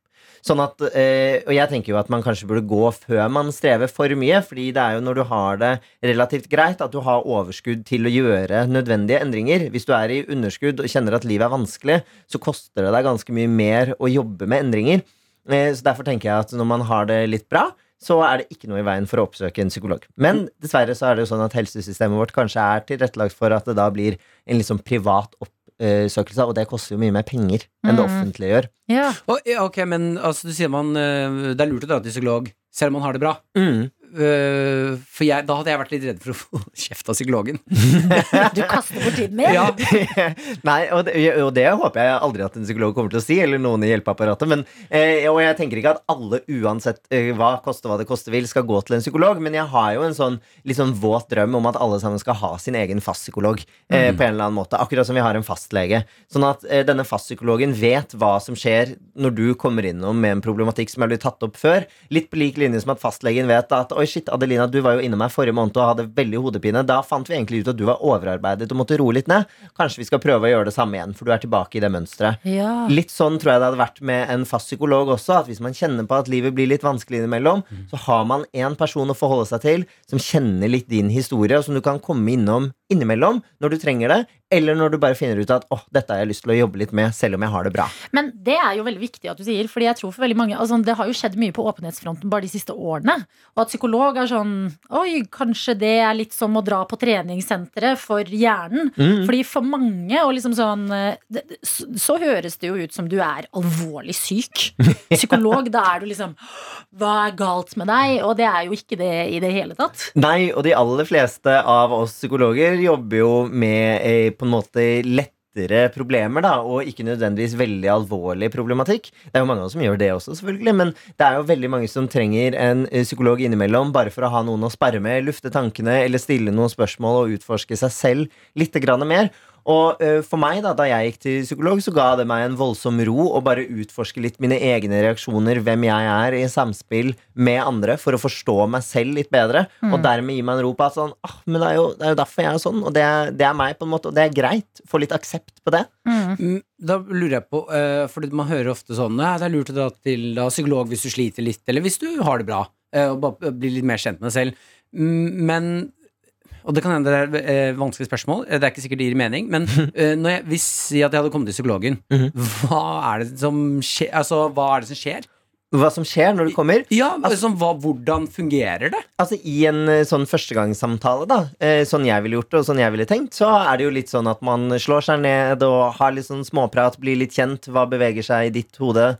Sånn at, eh, og jeg tenker jo at man kanskje burde gå før man strever for mye, fordi det er jo når du har det relativt greit at du har overskudd til å gjøre nødvendige endringer. Hvis du er i underskudd og kjenner at livet er vanskelig, så koster det deg ganske mye mer å jobbe med endringer. Eh, Så derfor tenker jeg at når man har det litt bra, så er det ikke noe i veien for å oppsøke en psykolog. Men dessverre så er det jo sånn at helsesystemet vårt kanskje er tilrettelagt for at det da blir en litt sånn privat oppsøkelse, og det koster jo mye mer penger enn det Mm. offentlige gjør. Ja. Å, ja, ok, men altså, du sier man eh, Det er lurt å dra til psykolog, selv om man har det bra. Eh, for jeg, da hadde jeg vært litt redd for å få kjeft av psykologen. Du kaster bort tiden min. Ja. Nei, og det, og det håper jeg aldri at en psykolog kommer til å si, eller noen i hjelpeapparatet. Men, eh, og jeg tenker ikke at alle, uansett eh, hva koste hva det koste vil, skal gå til en psykolog, men jeg har jo en sånn litt sånn våt drøm om at alle sammen skal ha sin egen fastpsykolog. Eh, På en eller annen måte, akkurat som vi har en fastlege. Sånn at eh, denne fastpsykologen vet hva som skjer når du kommer innom med en problematikk som er blitt tatt opp før. Litt på lik linje som at fastlegen vet at Oi, shit, Adelina, du var jo innom meg forrige måned og hadde veldig hodepine. Da fant vi egentlig ut at du var overarbeidet og måtte roe litt ned. Kanskje vi skal prøve å gjøre det samme igjen, for du er tilbake i det mønsteret. Ja. Litt sånn tror jeg det hadde vært med en fast psykolog også. At hvis man kjenner på at livet blir litt vanskelig innimellom, så har man en person å forholde seg til som kjenner litt din historie, og som du kan komme innom innimellom når du trenger det, eller når du bare finner ut at åh, dette har jeg lyst til å jobbe litt med, selv om jeg har det bra. Men det er jo veldig viktig at du sier, Fordi jeg tror for veldig mange altså, Det har jo skjedd mye på åpenhetsfronten bare de siste årene. Og at psykolog er sånn Oi, kanskje det er litt som å dra på treningssenteret for hjernen. Mm. Fordi for mange, og liksom sånn eh, det, det- så, så høres det jo ut som du er alvorlig syk. Psykolog, da er du liksom Hva er galt med deg? Og det er jo ikke det i det hele tatt. Nei, og de aller fleste av oss psykologer jobber jo med eh, på en måte lettere problemer, da, og ikke nødvendigvis veldig alvorlig problematikk. Det er jo mange av oss som gjør det også, selvfølgelig, men det er jo veldig mange som trenger en eh, psykolog innimellom bare for å ha noen å sparre med, lufte tankene eller stille noen spørsmål og utforske seg selv litt grann mer. Og eh, for meg da, da jeg gikk til psykolog, så ga det meg en voldsom ro å bare utforske litt mine egne reaksjoner, hvem jeg er, i samspill med andre, for å forstå meg selv litt bedre. Og dermed gi meg en ro på at sånn, ah, men det er jo, det er jo derfor jeg er sånn, og det er, det er meg på en måte, og det er greit. Få litt aksept på det. Mm, Da lurer jeg på, eh, fordi man hører ofte sånn Nei, det er lurt å dra til da, psykolog hvis du sliter litt, eller hvis du har det bra, eh, og bare bli litt mer kjent med deg selv. Mm, Men Og det kan hende det er eh, vanskelige spørsmål, eh, det er ikke sikkert det gir mening, men eh, når jeg, hvis si at jeg hadde kommet til psykologen, Mhm. hva er det som skjer? Altså, hva er det som skjer? Hva som skjer når du kommer. Ja, altså, hva, hvordan fungerer det? Altså I en eh, sånn førstegangssamtale, da, eh, sånn jeg ville gjort det, og sånn jeg ville tenkt, så er det jo litt sånn at man slår seg ned og har litt sånn småprat, blir litt kjent. Hva beveger seg i ditt hode?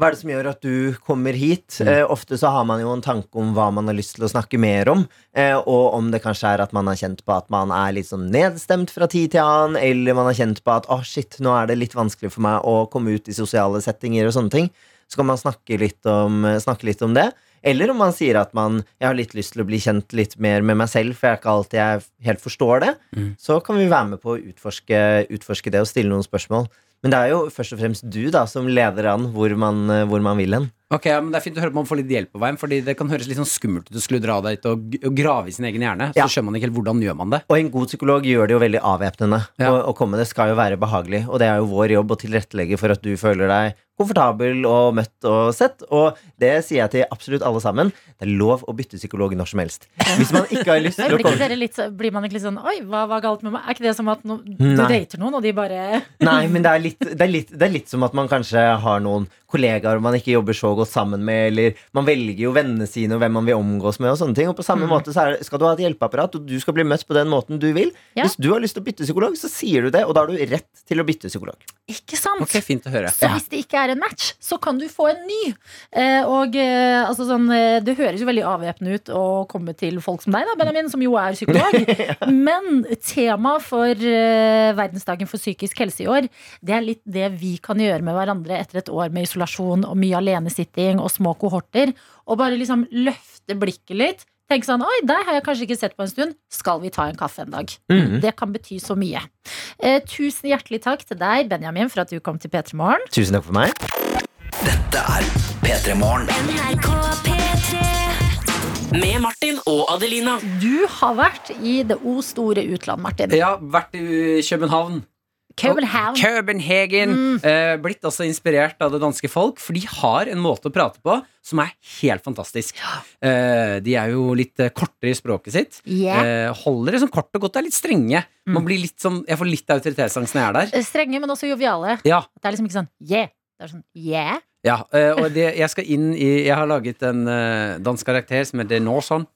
Hva er det som gjør at du kommer hit? Eh, ofte så har man jo en tanke om hva man har lyst til å snakke mer om, eh, og om det kanskje er at man har kjent på at man er litt sånn nedstemt fra tid til annen, eller man har kjent på at åh, shit, nå er det litt vanskelig for meg å komme ut i sosiale settinger og sånne ting. Så kan man snakke litt om, snakke litt om det. Eller om man sier at man Jeg har litt lyst til å bli kjent litt mer med meg selv, for jeg er ikke alltid jeg helt forstår det. Mm. Så kan vi være med på å utforske, utforske det og stille noen spørsmål. Men det er jo først og fremst du da som leder an hvor man, hvor man vil hen. Ok, ja, men Det er fint å høre på man får litt hjelp på veien, Fordi det kan høres litt sånn skummelt ut å skulle dra dit og, g- og grave i sin egen hjerne. Så Ja. skjønner man ikke helt hvordan gjør man det. Og en god psykolog gjør det jo veldig avvæpnende. Ja. Å, å komme det skal jo være behagelig, og det er jo vår jobb å tilrettelegge for at du føler deg komfortabel og møtt og sett. Og det sier jeg til absolutt alle sammen. Det er lov å bytte psykolog når som helst. Hvis man ikke har lyst til Blir, å ikke komme dere litt, så- blir man ikke litt sånn Oi, hva var galt med meg? Er ikke det som at no, du Nei. dater noen, og de bare Nei, men det er, litt, det, er litt, det er litt som at man kanskje har noen kollegaer man ikke jobber så godt sammen med, eller man velger jo vennene sine og hvem man vil omgås med, og sånne ting. Og på samme måte så er, det- skal du ha et hjelpeapparat, og du skal bli møtt på den måten du vil. Ja. Hvis du har lyst til å bytte psykolog, så sier du det, og da har du rett til å bytte psykolog. Ikke sant? Ok, fint å høre Så hvis det ikke er en match, så kan du få en ny. Eh, og eh, altså sånn, eh, Det høres jo veldig avvæpnende ut å komme til folk som deg, da, Benjamin, som jo er psykolog. Men temaet for eh, verdensdagen for psykisk helse i år, det er litt det vi kan gjøre med hverandre etter et år med isolasjon og mye alenesitting og små kohorter. Og bare liksom løfte blikket litt. Tenk sånn, oi, deg har jeg kanskje ikke sett på en stund. Skal vi ta en kaffe en dag? Mhm. Det kan bety så mye. Eh, tusen hjertelig takk til deg, Benjamin, for at du kom til P3 Morgen. Tusen takk for meg. P3 Morgen. NRK P3 Med Martin og Adelina. Du har vært i det o store utland, Martin. Ja, vært i København. København. Københagen. Eh, blitt også inspirert av det danske folk, for de har en måte å prate på som er helt fantastisk. Eh, de er jo litt eh, kortere i språket sitt. Yeah. Eh, holder det sånn kort og godt, er litt strenge. Man blir litt sånn, jeg får litt autoritetsangst når jeg er der. Eh, Strenge, men også joviale. Ja, Det er liksom ikke sånn yeah. Det er sånn yeah. ja eh, og det, jeg skal inn i Jeg har laget en eh, dansk karakter som heter Norson.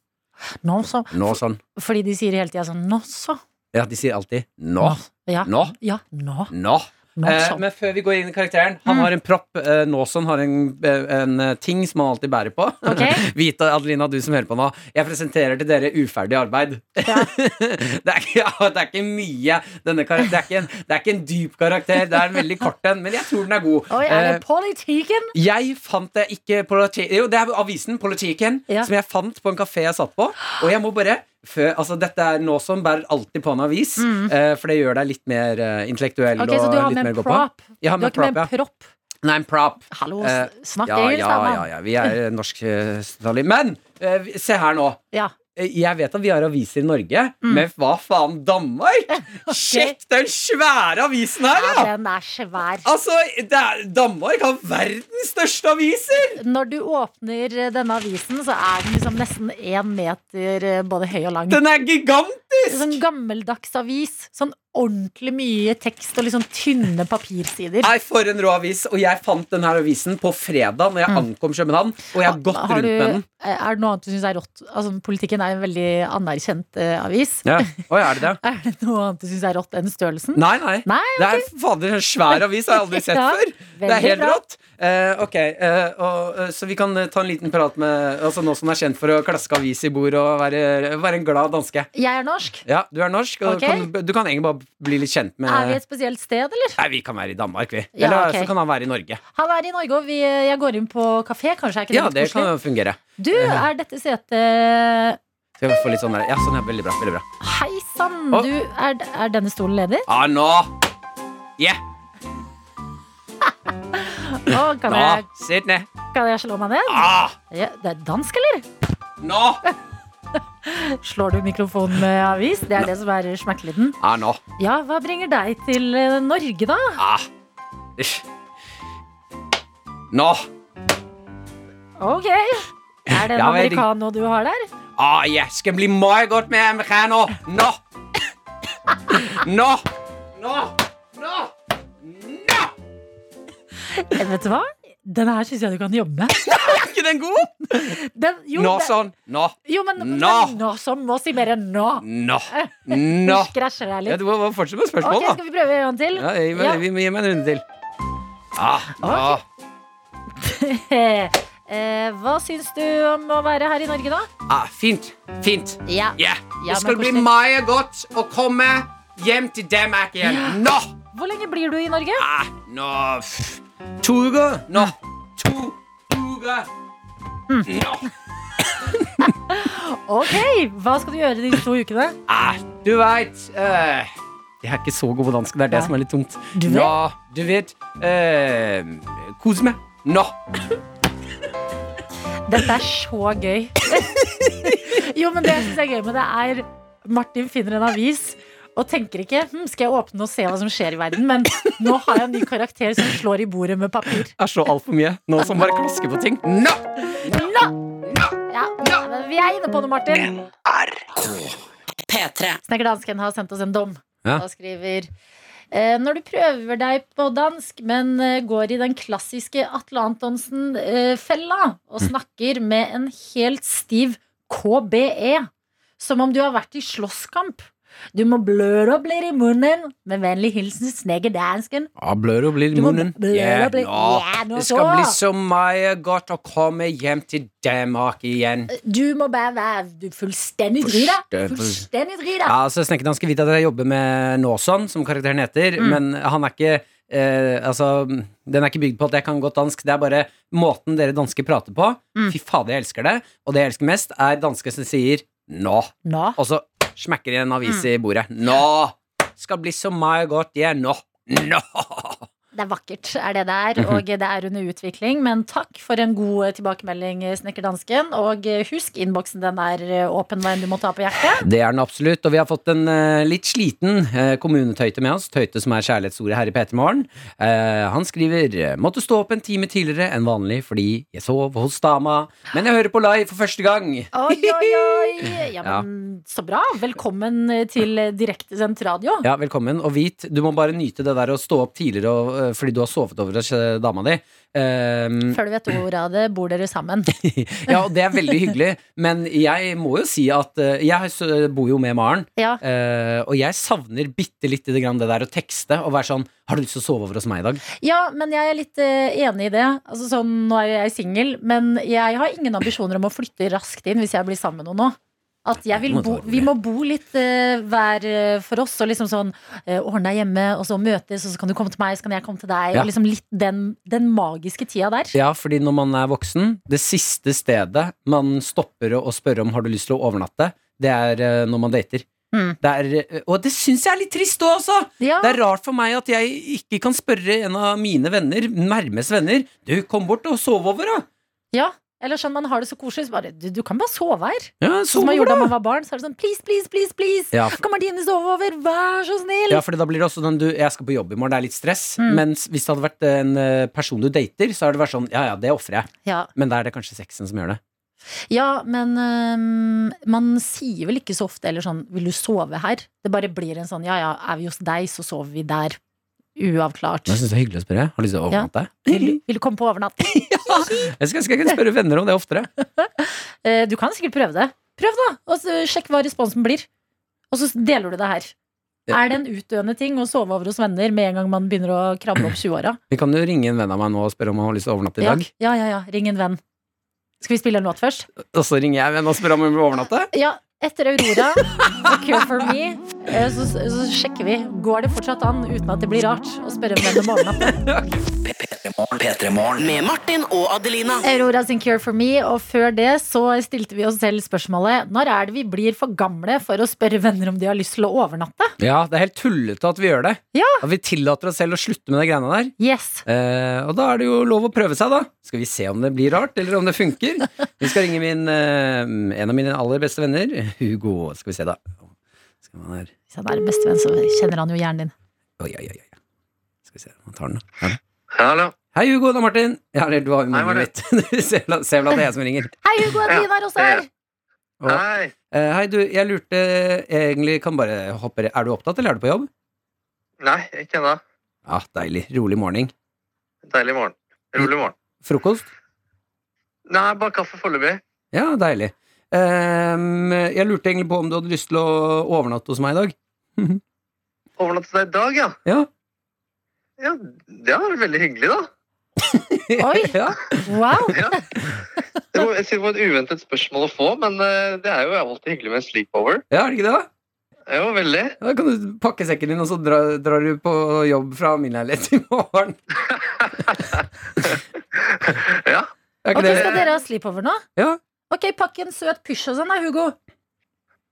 Nå så. Norson. Fordi de sier hele tida sånn nå så. Ja, de sier alltid nå. Ja. Nå. Ja, nå. Nå. Nå Eh, så. men før vi går inn i karakteren Han sånn. Mm. har en propp. Eh, Nåson har en, eh, en eh, ting som han alltid bærer på. Ok. Vita, Adelina, du som hører på nå. Jeg presenterer til dere uferdig arbeid. det, er, ikke- ja, det er ikke mye denne karakter, det, er ikke en, det er ikke en dyp karakter. Det er en veldig kort en, men jeg tror den er god. Oi, er det Eh, politikken? jeg fant det ikke politi- Jo, det er avisen Politiken Ja. Som jeg fant på en kafé jeg satt på Og jeg må bare før, altså, Dette er noe som bærer alltid på en avis eh, For det gjør deg litt mer eh, intellektuell Mm. Ok, Så og du har litt med mer en å gå på. prop? Jeg har Du har med ikke med en prop, ja prop? Nei, en prop Hallo, Eh, s- snakk ja, engelsk, ja, da, ja, mann. ja, vi er eh, norsk eh, snarlig. Men eh, vi- se her nå Ja. Eh, Jeg vet at vi har aviser i Norge Mm. Men hva faen, Danmark? Sjekk den svære avisen her ja, da den er svær. Altså, det er, Danmark har verdens største aviser Når du åpner eh, denne avisen, så er den liksom nesten én meter eh, både høy og lang. Den er gigantisk Sånn gammeldags avis. Sånn ordentlig mye tekst og liksom tynne papirsider. Nei, for en rå avis. Og jeg fant denne avisen på fredag når jeg ankom København. Og jeg har gått Mm. Har rundt du, eh, med den. er det noe annet du syns er rått? Altså, politikken er en veldig anerkjent eh, avis. Ja. Oi, er det det? Er det noe annet du syns er rått enn størrelsen? Nei, nei. Nei, Det er fader en svær avis, har jeg aldri sett Ja, før. Det er veldig helt bra. rått. Eh, ok, eh, og, eh, Så vi kan eh, ta en liten prat med altså nå som er kjent for å klaske avis i bord og være, være en glad danske. Jeg er norsk. Ja, du er norsk, og Ok. kan, du kan egentlig bare bli litt kjent med Er vi et spesielt sted, eller? Nei, vi kan være i Danmark, vi. Ja, Eller ok. så kan han være i Norge. Han er i Norge, og vi, eh, jeg går inn på kafé. Kanskje er ikke det Ja, litt det koselig? kan fungere. Du, er dette setet Skal vi få litt sånn der. Ja, sånn, ja. Veldig bra. veldig bra Hei sann! Å. Du, er, er denne stolen ledig? Ah, nå! Yeah! Å, kan, Nå! jeg, Sitt ned! kan jeg slå meg ned? Ah! Ja, det er dansk, eller? Nå! Slår du mikrofonen med avis? Det er det som er smekkelyden. Ah, nå. Ja, hva bringer deg til eh, Norge, da? Ah. Uff. Nå! Ok. Er det en Ja, jeg digg- americano du har der? Ah, jeg skal bli meget godt med americano! Nå! Nå! Nå! Nå! Nå! Eh, Vet du hva? Den her syns jeg du kan jobbe med. Er ikke den god? Den, jo, Nå det- sånn. Nå. Jo, men, men Nå. nå som må si mer enn nå. Nå. Du Nå. Skrasjer deg Ja, litt. du må må fortsette med Ok, spørsmål, Skal da. vi prøve en gang til? Ja, gi meg, gi meg- gi meg en runde til. Ah, nå. Eh, eh, hva syns du om å være her i Norge, da? Ah, fint. Fint. Ja. Yeah. Ja, det skal men bli koselig. meget godt å komme hjem til Danmark igjen. Nå! Hvor lenge blir du i Norge? Ah, nå pff. To uker. Nå. To uker. Mm. Nå. Ok, Hva skal du gjøre de to ukene? Ah, du veit eh, Jeg er ikke så god på dansk. Det er det som er litt tungt. Du vet. Nå, du vet eh, Kose meg. Nå. Dette er så gøy. jo, men det jeg syns er gøy med det, er Martin finner en avis og tenker ikke hm, skal jeg åpne og se hva som skjer i verden, men nå har jeg en ny karakter som slår i bordet med papir. Jeg slår altfor mye. Nå som bare klasker på ting. Nå! Nå! Ja, men vi er inne på det, Martin. P3. Snekker dansken har sendt oss en dom. Ja. Og skriver eh, når du prøver deg på dansk, men eh, går i den klassiske Atle Antonsen-fella og Mm. snakker E, med en helt stiv KBE, som om du har vært i slåsskamp, Du må bløde og blir i munnen. Med vennlig hilsen sneger dansken. Ja, blør og blir i Du må munnen. blør og Ja, blir- nå. Ja, nå det skal så. bli så mye godt å komme hjem til Danmark igjen. Du må bare være du fullstendig drita. Forstøvel. Fullstendig drita. Ja, altså Snekkerdansken vet at jeg jobber med Nåson, som karakteren heter, Mm. men han er ikke eh, altså, Den er ikke bygd på at jeg kan godt dansk. Det er bare måten dere dansker prater på. Mm. Fy fader, jeg elsker det. Og det jeg elsker mest, er dansker som sier 'nå'. Nå. Og så smekker de en avis Mm. i bordet. 'Nå! Skal bli så mye godt, jeg er nå'. Nå! Det er vakkert, er det det er. Mhm. Og det er under utvikling. Men takk for en god eh, tilbakemelding, snekkerdansken. Og eh, husk, innboksen den er eh, åpen hva enn du måtte ha på hjertet. Det er den absolutt. Og vi har fått en eh, litt sliten eh, kommunetøyte med oss. Tøyte som er kjærlighetsordet her i P3morgen. Eh, han skriver Måtte stå opp en time tidligere enn vanlig fordi jeg sov hos dama. Men jeg hører på live for første gang. Oi, oi, oi. Ja, men så bra. Velkommen eh, til direktesendt radio. Ja, velkommen. Og vit, du må bare nyte det der å stå opp tidligere og, eh, fordi du har sovet over hos eh, dama di. Ehm, Før du vet ordet av det, bor dere sammen. ja, og det er veldig hyggelig, men jeg må jo si at eh, jeg s- bor jo med Maren. Ja. eh, og jeg savner bitte lite grann det der å tekste og være sånn Har du lyst til å sove over hos meg i dag? Ja, men jeg er litt eh, enig i det. Altså, sånn, nå er jeg singel, men jeg har ingen ambisjoner om å flytte raskt inn hvis jeg blir sammen med noen nå. At jeg vil Må ta bo, det vi må bo litt eh, hver eh, for oss, og liksom sånn eh, ordne deg hjemme, og så møtes, og så kan du komme til meg, så kan jeg komme til deg. Ja. Og liksom litt den, den magiske tida der. Ja, fordi når man er voksen, det siste stedet man stopper å å spørre om har du lyst til å overnatte, det er eh, når man dater. Mm. Det er, eh, og det syns jeg er litt trist òg, altså! Ja. Det er rart for meg at jeg ikke kan spørre en av mine venner, nærmeste venner, du, kom bort og sov over, da! Ja, eller sånn man har det så koselig. Så bare, du, du kan bare sove her. Ja, Sånn sov som man over, gjorde da da! man var barn. Så er det sånn please, please, please, please. Ja, for- Kan Martine sove over? Vær så snill. Ja, fordi da blir det også sånn du, jeg skal på jobb i morgen, det er litt stress. Mm. Mens hvis det hadde vært en eh, person du dater, så hadde det vært sånn, ja ja, det ofrer jeg. Ja. Men da er det kanskje sexen som gjør det. Ja, men øhm, man sier vel ikke så ofte eller sånn 'vil du sove her?' Det bare blir en sånn 'ja ja, er vi hos deg, så sover vi der'. Uavklart. Men jeg syns det er hyggelig å spørre. Har du lyst til å Ja. overnatte? Vil, du- vil du komme på overnatt? Jeg skal, skal jeg kunne spørre venner om det oftere. Eh, du kan sikkert prøve det. Prøv, da! Og så sjekk hva responsen blir. Og så deler du det her. Ja. Er det en utdøende ting å sove over hos venner med en gang man begynner å krabbe opp 20-åra? Vi kan jo ringe en venn av meg nå og spørre om han har lyst til å overnatte i Ja, dag. ja, ja, ja. Ring en venn. Skal vi spille en låt først? Og så ringer jeg en venn og spør om hun vil overnatte. Ja, etter Aurora, Secure for me, eh, så, så sjekker vi. Går det fortsatt an, uten at det blir rart, å spørre hvem om overnatt? P3morgen. Med Martin og Adelina. Aurora sin Cure for me, og før det så stilte vi oss selv spørsmålet Når er det vi blir for gamle for å spørre venner om de har lyst til å overnatte? Ja, det er helt tullete at vi gjør det. Ja. At vi tillater oss selv å slutte med de greiene der. Yes. Eh, og da er det jo lov å prøve seg, da. Skal vi se om det blir rart, eller om det funker. Vi skal ringe min, eh, en av mine aller beste venner, Hugo. Skal vi se, da. Skal man her. Hvis han er bestevenn, så kjenner han jo hjernen din. Oi, oi, oi. oi. Skal vi se, man tar den, da. Her. Hallo. Hei, Hugo. Det er Martin. Ja, eller du har jo Hei, nummeret mitt. Du ser vel at ser vel at det er jeg som ringer. Hei, Hugo Adelina er også her! Og, Hei. eh, hei, du. Jeg lurte eh, egentlig Kan bare hoppe Er du opptatt, eller er du på jobb? Nei, ikke ennå. Ja, deilig. Rolig morgen. Deilig morgen. Rolig morgen. Frokost? Nei, bare kaffe foreløpig. Ja, deilig. Ehm, jeg lurte egentlig på om du hadde lyst til å overnatte hos meg i dag. Overnatte deg i dag, ja. Ja. Ja, Det var veldig hyggelig, da. Oi! ja. Wow! Ja. Det var, jeg synes det var et uventet spørsmål å få, men eh, det er jo alltid hyggelig med en sleepover. ja, er det ikke det? da? Jo, veldig. Da kan du pakke sekken din, og så dra, drar du på jobb fra min leilighet i morgen. ja. Er Ok, ikke Skal det? dere ha sleepover nå? Ja. Ok, pakk en søt pysj og sånn da, Hugo.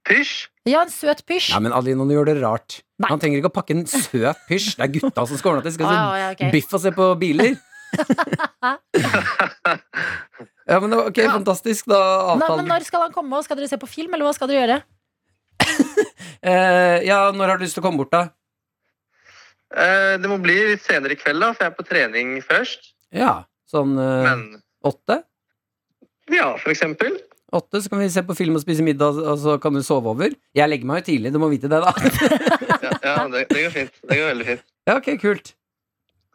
Pysj? Ja, en søt pysj. Nei, men Adeline, du gjør det rart. Nei. Han trenger ikke å pakke en søt pysj. Det er gutta som skal overnatte. De Å, Skal se ja, å, Ah, ja, ok. biff og se på biler. ja, men ok, fantastisk. Da Nei, men avtalen. når skal han komme? Skal dere se på film, eller hva skal dere gjøre? Eh, ja, når har du lyst til å komme bort, da? Eh, det må bli litt senere i kveld, da, for jeg er på trening først. Ja, sånn eh, Men åtte? ja, for eksempel. Åtte, så kan vi se på film og spise middag, og så kan du sove over. Jeg legger meg jo tidlig, du må vite det, da. Ja, ja det, det går fint. Det går veldig fint. Ja, ok, kult.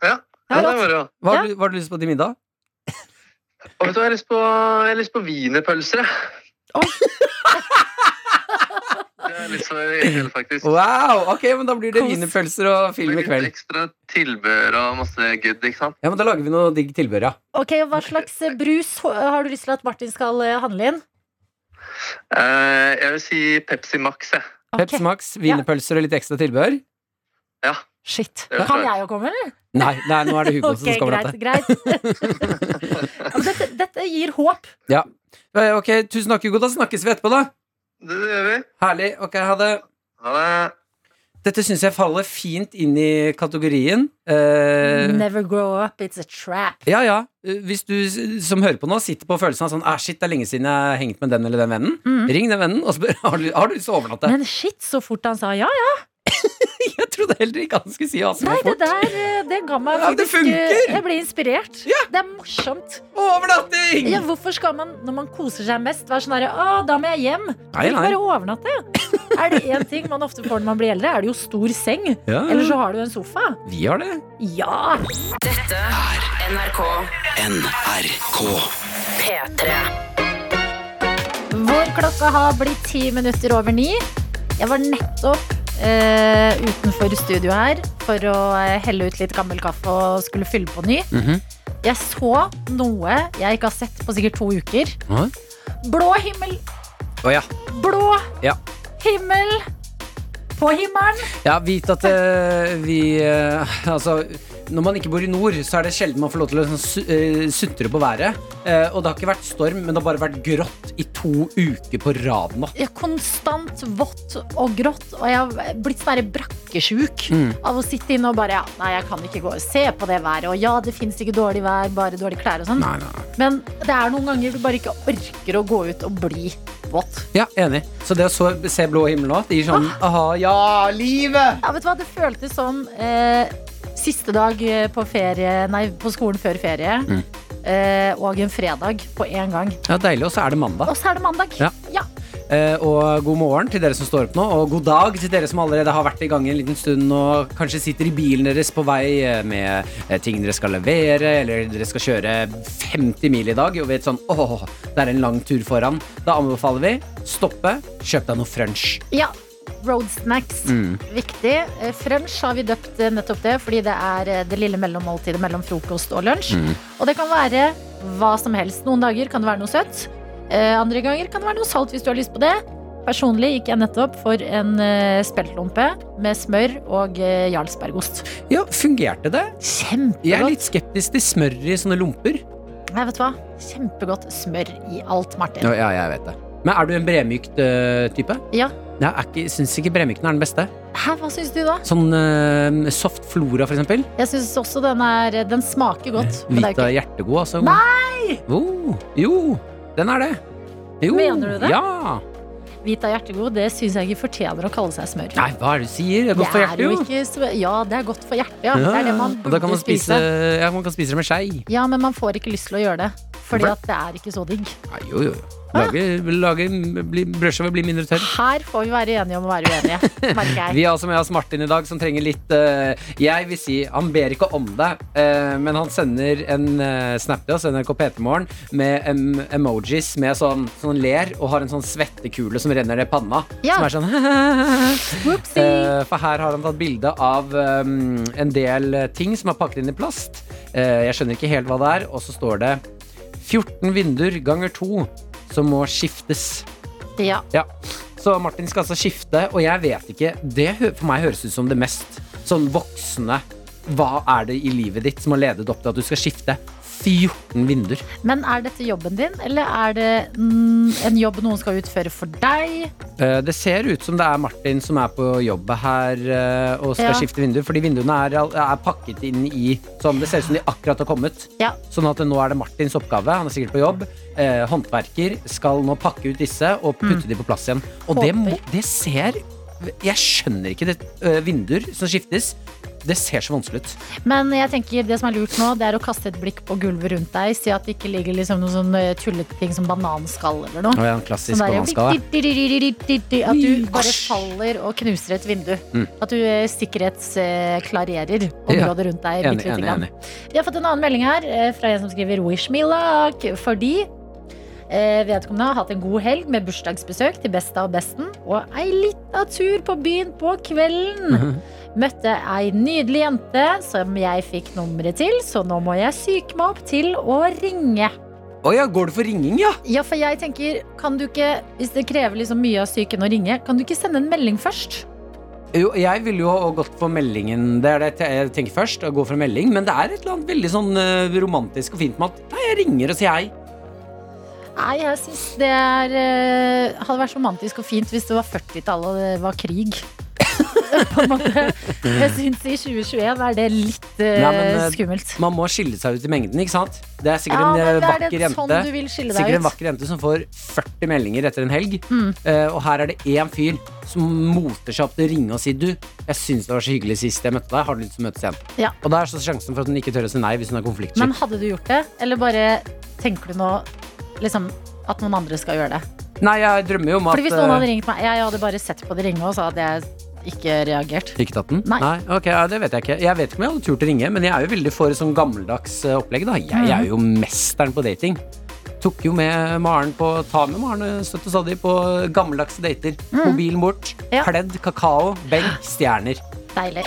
Ja, ja det er moro. Hva har, du, hva har du lyst på til middag? Og vet du hva, jeg har lyst på, jeg har lyst på wienerpølser, jeg. jeg er litt så hel, faktisk. Wow, ok, men da blir det wienerpølser og film i Med litt kveld. ekstra tilbehør og masse good, ikke sant? Ja, men Da lager vi noe digg tilbehør, ja. Ok, og Hva slags eh, brus eh, har du lyst til at Martin skal eh, handle inn? Eh, jeg vil si Pepsi Max, jeg. Pepsi Max, wienerpølser og litt ekstra tilbehør. Ja. Shit. Det er Kan klart. jeg jo komme, eller? Nei, nei nå er det Hugo Ok, som skal greit, overnatte. greit. ja, men dette, dette gir håp. Ja. Eh, Ok, tusen takk, Hugo. Da snakkes vi etterpå, da. Det gjør vi. Herlig. Ok, ha det. Dette syns jeg faller fint inn i kategorien. Eh, Never grow up, it's a trap. ja, ja. Eh, Hvis du s- som hører på nå, sitter på følelsen av sånn ah, shit, det er lenge siden jeg har hengt med den eller den vennen, Mm. ring den vennen og spør har du har du lyst til å overnatte. Men shit, så fort han sa ja, ja. jeg trodde heller ikke han skulle si ja så Nei, det fort. der eh, det ga meg Ja, det faktisk eh, funker! Jeg ble inspirert. Det er morsomt. Overnatting! Ja, hvorfor skal man, når man koser seg mest, være sånn herre Å, da må jeg hjem. Kan Nei, ikke nei. bare overnatte. Er det én ting man ofte får når man blir eldre, er det jo stor seng. Ja. Eller så har du en sofa. Vi har det. Ja! Dette er NRK NRK. P3. Vår klokka har blitt ti minutter over ni. Jeg var nettopp eh, utenfor studio her for å eh, helle ut litt gammel kaffe og skulle fylle på ny. Mhm. Jeg så noe jeg ikke har sett på sikkert to uker. Å Blå himmel! ja. Blå ja. himmel! På himmelen! Ja, vit at eh, vi eh, Altså, når man ikke bor i nord, så er det sjelden man får lov til å sånn, su eh, sutre på været. Eh, og det har ikke vært storm, men det har bare vært grått i to uker på rad nå. Ja, Konstant vått og grått, og jeg har blitt sånn her brakkesjuk Mm. av å sitte inne og bare ja, Nei, jeg kan ikke gå og se på det været, og ja, det fins ikke dårlig vær, bare dårlige klær og sånn. Nei, nei, nei. Men det er noen ganger du bare ikke orker å gå ut og bli våt. Ja, enig. Så det å så, se blå himmel nå, det gir sånn aha, ja, livet! Ja, vet du hva, det føltes som eh, siste dag eh, på ferie, nei, på skolen før ferie, Mm. eh, og en fredag på én gang. Ja, Deilig. Og så er det Og mandag. så er det mandag. Ja. Ja. Eh, og god morgen til dere som står opp nå, og god dag til dere som allerede har vært i gang en liten stund og kanskje sitter i bilen deres på vei eh, med eh, ting dere skal levere, eller dere skal kjøre 50 mil i dag og vet sånn åh, det er en lang tur foran. Da anbefaler vi stoppe, kjøp deg noe frunch. Ja, road snacks. Mm. Viktig. Eh, Frunch har vi døpt eh, nettopp det, fordi det er eh, det lille mellommåltidet mellom frokost og lunsj. Mm. Og det kan være hva som helst. Noen dager kan det være noe søtt. eh, Andre ganger kan det være noe salt hvis du har lyst på det. Personlig gikk jeg nettopp for en eh, speltlompe med smør og eh, jarlsbergost. Ja, fungerte det? Jeg er Kjempegodt. litt skeptisk til smør i sånne lomper. Nei, vet du hva? Kjempegodt smør i alt, Martin. Ja, ja, jeg vet det. Men er du en bremykt eh, type? Ja. Nei, er ikke, syns ikke bremykten er den beste. Hæ, hva syns du da? Sånn eh, soft flora, for eksempel. Jeg syns også den, er, den smaker godt. men det er jo Vita ikke- hjertegod, altså. Nei! Jo, jo, den er det. Jo, Mener du det? Ja. Vita hjertegod, det syns jeg ikke fortjener å kalle seg smør. Nei, hva er det du sier? Det er godt for Det hjertet, er jo. jo ikke smør. Ja, det er godt for hjertet, ja. Det Ja, er det ja. man Og da kan burde man spise, spise. ja, man kan spise det med skei. Ja, men man får ikke lyst til å gjøre det. Fordi at Hvorfor? det er ikke så digg. Nei, jo, jo. Lage, lage, bli, brødskiva blir mindre tørr. Her får vi være enige om å være uenige, merker jeg. Vi har også med oss Martin i dag, som trenger litt eh, Jeg vil si, han ber ikke om det, eh, men han sender en eh, snap til oss, NRK P3morgen, med em emojis med sånn, sånn ler, og har en sånn svettekule som renner ned panna. Ja. Som er sånn Eh, For her har han tatt bilde av um, en del ting som er pakket inn i plast. Eh, jeg skjønner ikke helt hva det er, og så står det 14 vinduer ganger 2 som må skiftes. Ja. Ja. Så Martin skal altså skifte, og jeg vet ikke Det hø- for meg høres ut som det mest sånn voksne Hva er det i livet ditt som har ledet opp til at du skal skifte 14 vinduer? Men er dette jobben din, eller er det mm, en jobb noen skal utføre for deg? Eh, Det ser ut som det er Martin som er på jobbet her eh, og Ja. skal skifte vinduer, fordi vinduene er, all- er pakket inn i sånn. Det ser ut som de akkurat har kommet. Ja. Sånn at nå er det Martins oppgave, han er sikkert på jobb. Eh, håndverker skal nå pakke ut disse og Mm. putte de på plass igjen. Og det, må, det ser Jeg skjønner ikke det. eh, vinduer som skiftes, det ser så vanskelig ut. Men jeg tenker det som er lurt nå, det er å kaste et blikk på gulvet rundt deg. Se at det ikke ligger liksom noen sånn eh, tullete ting som bananskall eller noe. Å ja, en klassisk Sånn der, ja, bananskall, ja. di-di-di-di-di-di-di, At du bare faller og knuser et vindu. Mm. At du eh, sikkerhetsklarerer området rundt deg. Enig, bitte lite enig, grann. enig. Vi har fått en annen melding her eh, fra en som skriver 'Wish me luck', fordi Eh, vedkommende har hatt en god helg med bursdagsbesøk til besta og besten, og ei lita tur på byen på kvelden. Møtte ei nydelig jente som jeg fikk nummeret til, så nå må jeg syke meg opp til å ringe. Å ja, går det for ringing, ja? Ja, for jeg tenker, kan du ikke, hvis det krever liksom mye av psyken å ringe, kan du ikke sende en melding først? Jo, jeg ville jo ha gått for meldingen. Det er det jeg tenker først. Å gå for melding. Men det er et eller annet veldig sånn eh, romantisk og fint med at Nei, jeg ringer og sier hei. Nei, jeg syns det er, eh, hadde vært romantisk og fint hvis det var 40-tallet og det var krig. på en måte. Jeg syns i 2021 er det litt eh, Nei, men, eh, skummelt. Man må skille seg ut i mengden, ikke sant? Det er sikkert Ja, en men det eh, er vakker det jente. sånn du vil skille deg sikkert en ut. vakker jente som får 40 meldinger etter en helg. Mm. Eh, og her er det én fyr som moter seg opp til å ringe og si du, jeg syns det var så hyggelig sist jeg møtte deg, har du lyst til å møtes igjen? Ja. Og da er så sjansen for at hun ikke tør å si nei hvis hun er konfliktsky. Men hadde du gjort det, eller bare tenker du nå liksom, at noen andre skal gjøre det? Nei, jeg drømmer jo om at Fordi hvis noen hadde eh, ringt meg, jeg hadde bare sett på de ringe, og så hadde jeg ikke reagert. Ikke tatt den? Nei. ok, ja, Det vet jeg ikke. Jeg vet ikke om jeg hadde turt å ringe, men jeg er jo veldig for sånn gammeldags eh, opplegg. da Jeg, jeg er jo mesteren på dating. Tok jo med Maren på Ta med Maren eh, støtt og stadig på gammeldagse dater. Mobilen bort, pledd, kakao, benk, stjerner. Deilig.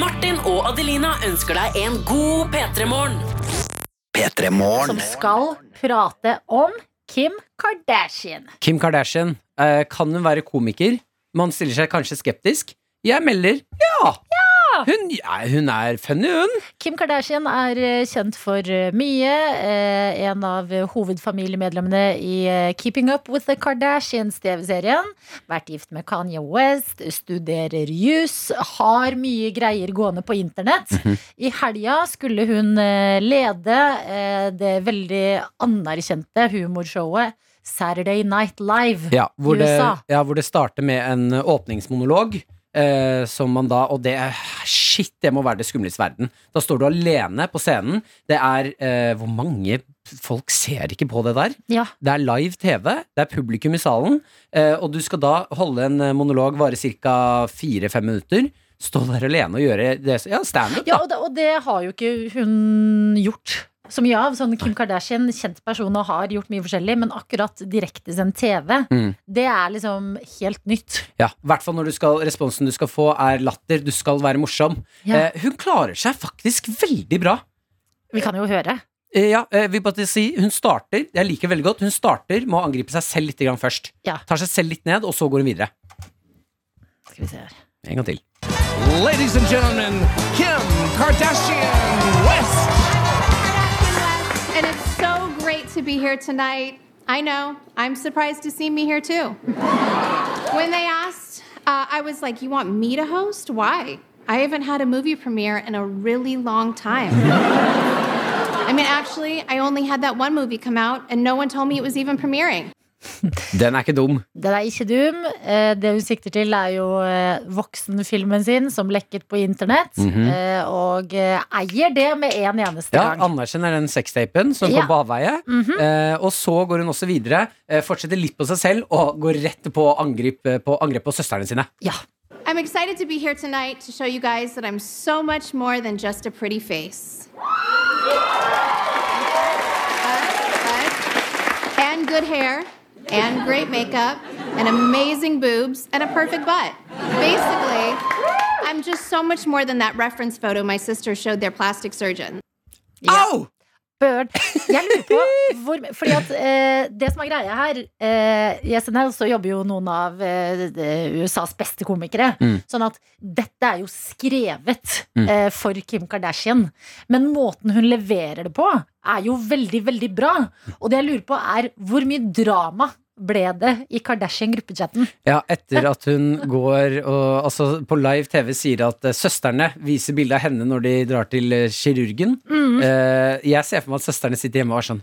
Martin og Adelina ønsker deg en god P3-morgen. Som skal prate om Kim Kardashian. Kim Kardashian, eh, kan hun være komiker? Man stiller seg kanskje skeptisk. Jeg melder ja! Hun, ja, hun er funny, hun. Kim Kardashian er eh, kjent for eh, mye. Eh, En av eh, hovedfamiliemedlemmene i eh, Keeping Up With The Kardashians-TV-serien. Vært gift med Kanye West, studerer jus, har mye greier gående på internett. Mhm. I helga skulle hun eh, lede eh, det veldig anerkjente humorshowet Saturday Night Live Ja, hvor i det, USA. ja, hvor det starter med en åpningsmonolog. Eh, som man da, og det er- Shit, det må være det skumleste i verden. Da står du alene på scenen. Det er eh, Hvor mange folk ser ikke på det der? Ja. Det er live TV, det er publikum i salen, eh, og du skal da holde en eh, monolog vare ca. fire-fem minutter. Stå der alene og gjøre det Ja, standup, Ja, da. og det, og det har jo ikke hun gjort så mye av. Sånn Kim Kardashian, kjent person og har gjort mye forskjellig, men akkurat direktesendt TV, Mm. det er liksom helt nytt. Ja, i hvert fall når du skal, responsen du skal få, er latter. Du skal være morsom. Ja. Eh, hun klarer seg faktisk veldig bra. Vi kan jo høre. Eh, Ja, eh, vil bare si Hun starter jeg liker veldig godt Hun starter med å angripe seg selv litt grann først. Ja. Tar seg selv litt ned, og så går hun videre. Skal vi se her En gang til. Ladies and gentlemen, Kim Kardashian West. And it's so great to be here tonight. I know, I'm surprised to see me here too. when they asked, uh, I was like, You want me to host? Why? I haven't had a movie premiere in a really long time. I mean, actually, I only had that one movie come out, and no one told me it was even premiering. Den er ikke dum. Den er ikke dum. Eh, Det hun sikter til, er jo eh, voksenfilmen sin som lekket på internett. Mhm. eh, Og eh, eier det med en eneste Ja, gang. Anerkjenner den sextapen som kom Ja. på avveie. Mhm. eh, og så går hun også videre. Eh, fortsetter litt på seg selv og går rett på angrep eh, på, angrep på søstrene sine. I'm excited to be here tonight to show you guys that I'm so much more than just a pretty face. But- but- and good hair, and great makeup, and amazing boobs, and a perfect butt. Basically, I'm just so much more than that reference photo my sister showed their plastic surgeon. Au! Børn. Jeg lurer på hvor Fordi at eh, det som er greia her eh, I SNL så jobber jo noen av eh, de- USAs beste komikere. Mm. Sånn at dette er jo skrevet Mm. eh, for Kim Kardashian. Men måten hun leverer det på, er jo veldig, veldig bra. Og det jeg lurer på, er hvor mye drama ble det i Kardashian-gruppechatten? Ja, etter at hun går og altså, på live TV sier at eh, søstrene viser bilde av henne når de drar til eh, kirurgen. Mm. Mhm. Eh, jeg ser for meg at søstrene sitter hjemme og er sånn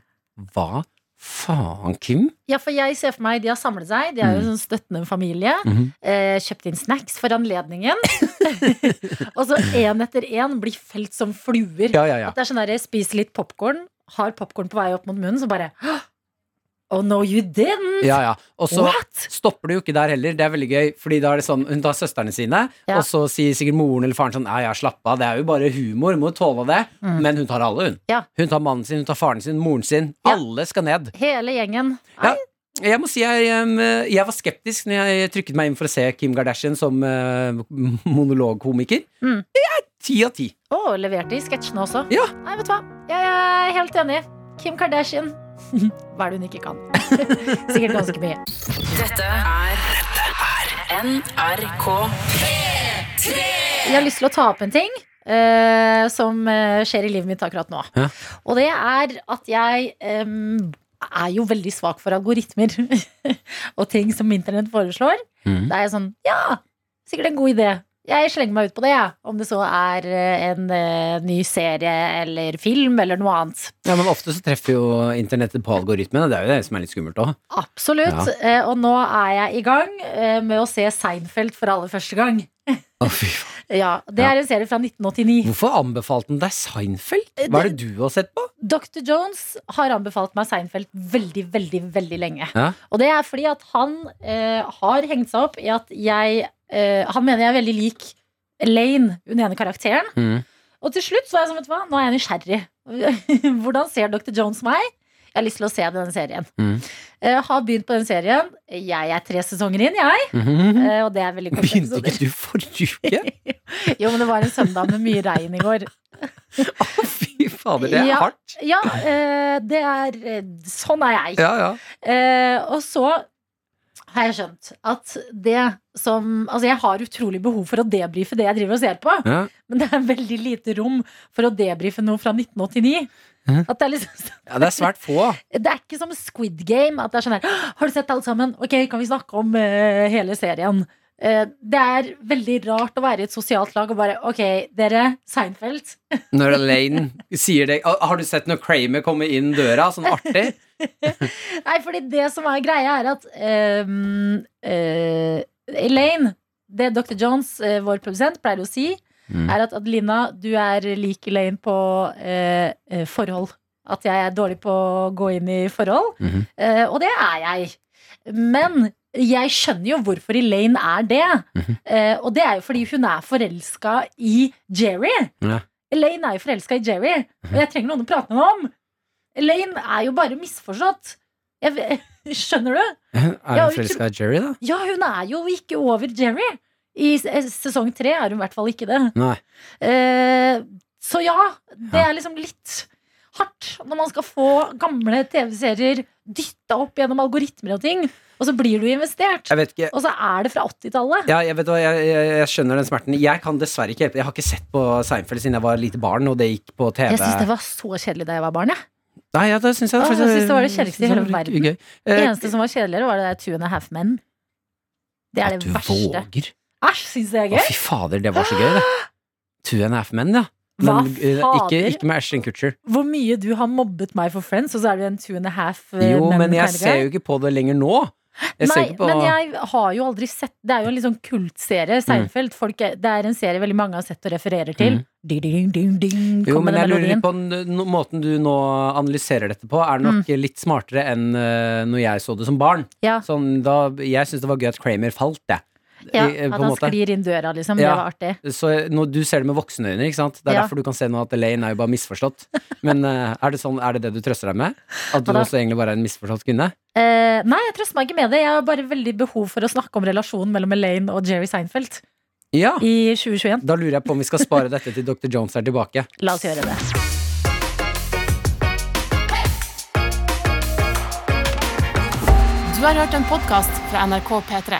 Hva faen, Kim? Ja, for jeg ser for meg De har samlet seg. De Mm. er jo en sånn støttende familie. Mhm. eh, kjøpt inn snacks for anledningen. og så én etter én blir felt som fluer. Ja, ja, ja. At det er sånn der, Spiser litt popkorn, har popkorn på vei opp mot munnen, så bare «Hå! Oh no, you didn't! Ja, ja. Og så What? stopper det jo ikke der heller. Det er veldig gøy, fordi da er det sånn hun tar søstrene sine, Ja. og så sier sikkert moren eller faren sånn Ja, ja, slapp av, det er jo bare humor, må tåle det. Mm. Men hun tar alle, hun. Ja. Hun tar mannen sin, hun tar faren sin, moren sin. Alle skal ned. Hele gjengen. Ja. Jeg må si jeg, em, jeg var skeptisk når jeg trykket meg inn for å se Kim Kardashian som eh, monologkomiker. Mm. Ti av ti. Og leverte i sketsjene også. Ja. Nei, vet du hva? Jeg er helt enig. Kim Kardashian. Hva er det hun ikke kan? Sikkert ganske mye. Dette er NRK P3. Jeg har lyst til å ta opp en ting eh, som eh, skjer i livet mitt akkurat nå. Ja. Og det er at jeg em, er jo veldig svak for algoritmer og ting som internett foreslår. Mhm. Da er jeg sånn Ja, sikkert en god idé. Jeg slenger meg ut på det, jeg. Om det så er eh, en eh, ny serie eller film eller noe annet. Ja, men ofte så treffer jo internettet på algoritmene. Det er jo det som er litt skummelt òg. Absolutt. Ja. Eh, og nå er jeg i gang eh, med å se Seinfeld for aller første gang. ja, Det Ja. er en serie fra 1989. Hvorfor anbefalte den deg Seinfeld? Eh, Hva er det du har sett på? Dr. Jones har anbefalt meg Seinfeld veldig, veldig, veldig lenge. Ja. Og det er fordi at han eh, har hengt seg opp i at jeg eh, Han mener jeg er veldig lik Elaine, hun ene karakteren. Mm. Og til slutt så var jeg sånn, vet du hva, nå er jeg nysgjerrig. Hvordan ser Dr. Jones meg? Jeg har lyst til å se denne serien. Mm. Eh, har begynt på den serien. Jeg er tre sesonger inn, jeg. Mhm. Eh, og det er veldig kort Begynte episoder. ikke du forrige uke? Jo, men det var en søndag med mye regn i går. Fy fader, det er ja, hardt. Ja, eh, det er eh, Sånn er jeg. Ja, ja. Eh, og så har jeg skjønt at det som Altså, jeg har utrolig behov for å debrife det jeg driver og ser på, Ja. men det er veldig lite rom for å debrife noe fra 1989. Mhm. At det er liksom Ja, det er svært få. det er ikke som Squid Game. At det er sånn her «Åh, Har du sett alt sammen? Ok, kan vi snakke om eh, hele serien? Eh, det er veldig rart å være i et sosialt lag og bare Ok, dere, Seinfeld. Når Elaine sier det «Å, Har du sett når Kramer kommer inn døra? Sånn artig. Nei, fordi det som er greia er at ehm, eh, Elaine, det Dr. Jones, eh, vår produsent, pleier å si, Mm. er at Adelina, du er lik Elaine på eh, eh, forhold. At jeg er dårlig på å gå inn i forhold. Mhm. Eh, og det er jeg. Men jeg skjønner jo hvorfor Elaine er det. Mhm. Eh, og det er jo fordi hun er forelska i Jerry. Ja. Elaine er jo forelska i Jerry, Mhm. og jeg trenger noen å prate med meg om. Elaine er jo bare misforstått. Jeg, ve- skjønner du? Er Ja, hun forelska i Jerry, da? Ja, hun er jo ikke over Jerry. I s- eh, sesong tre er hun i hvert fall ikke det. Nei. Eh, så ja, det er liksom litt hardt når man skal få gamle TV-serier dytta opp gjennom algoritmer og ting, og så blir du investert. Jeg vet ikke. Og så er det fra 80-tallet. Ja, jeg, vet hva, jeg, jeg, jeg skjønner den smerten. Jeg kan dessverre ikke hjelpe. Jeg har ikke sett på Seinfeld siden jeg var lite barn, og det gikk på TV. Jeg syns det var så kjedelig da jeg var barn. Jeg. Nei, ja, det syns jeg, Åh, jeg faktisk- synes det var det kjedeligste i hele synes det var verden. gøy. Eh, eneste som var kjedeligere, var det der Two and a Half Men. Det er det du verste. våger. Æsj, syns jeg Å, det er fy gøy. fader, det var så gøy, det. Two and a half men, ja. Hva Men eh, ikke, fader? ikke med Ashton Kutcher. Hvor mye du har mobbet meg for Friends, og så er du en two and a half eh, Jo, men kind jeg of ser guy. jo ikke på det lenger nå. Jeg ser Nei, ikke på men jeg har jo aldri sett Det er jo en litt sånn kultserie, Seinfeld. Folk er, det er en serie veldig mange har sett og refererer til. Mm. Ding, ding, ding, ding, Jo, kommer men jeg den lurer melodien. litt på n no- måten du nå analyserer dette på. Er det nok Mm. litt smartere enn uh, når jeg så det som barn. Sånn, da, jeg syns det var gøy at Kramer falt, jeg. Ja, I- eh, på at en han måte. sklir inn døra, liksom. Det Ja. var artig. Så når du ser det med voksne øyne, ikke sant? Det Ja. er derfor du kan se nå at Elaine er jo bare misforstått. Men eh, er, det sånn, er det det du trøster deg med? At du Hva da? også egentlig bare er en misforstått kvinne? Eh, nei, jeg trøster meg ikke med det. Jeg har bare veldig behov for å snakke om relasjonen mellom Elaine og Jerry Seinfeld. Ja. I 2021. Da lurer jeg på om vi skal spare dette til Dr. Jones er tilbake. La oss gjøre det. Du har hørt en podkast fra NRK P3.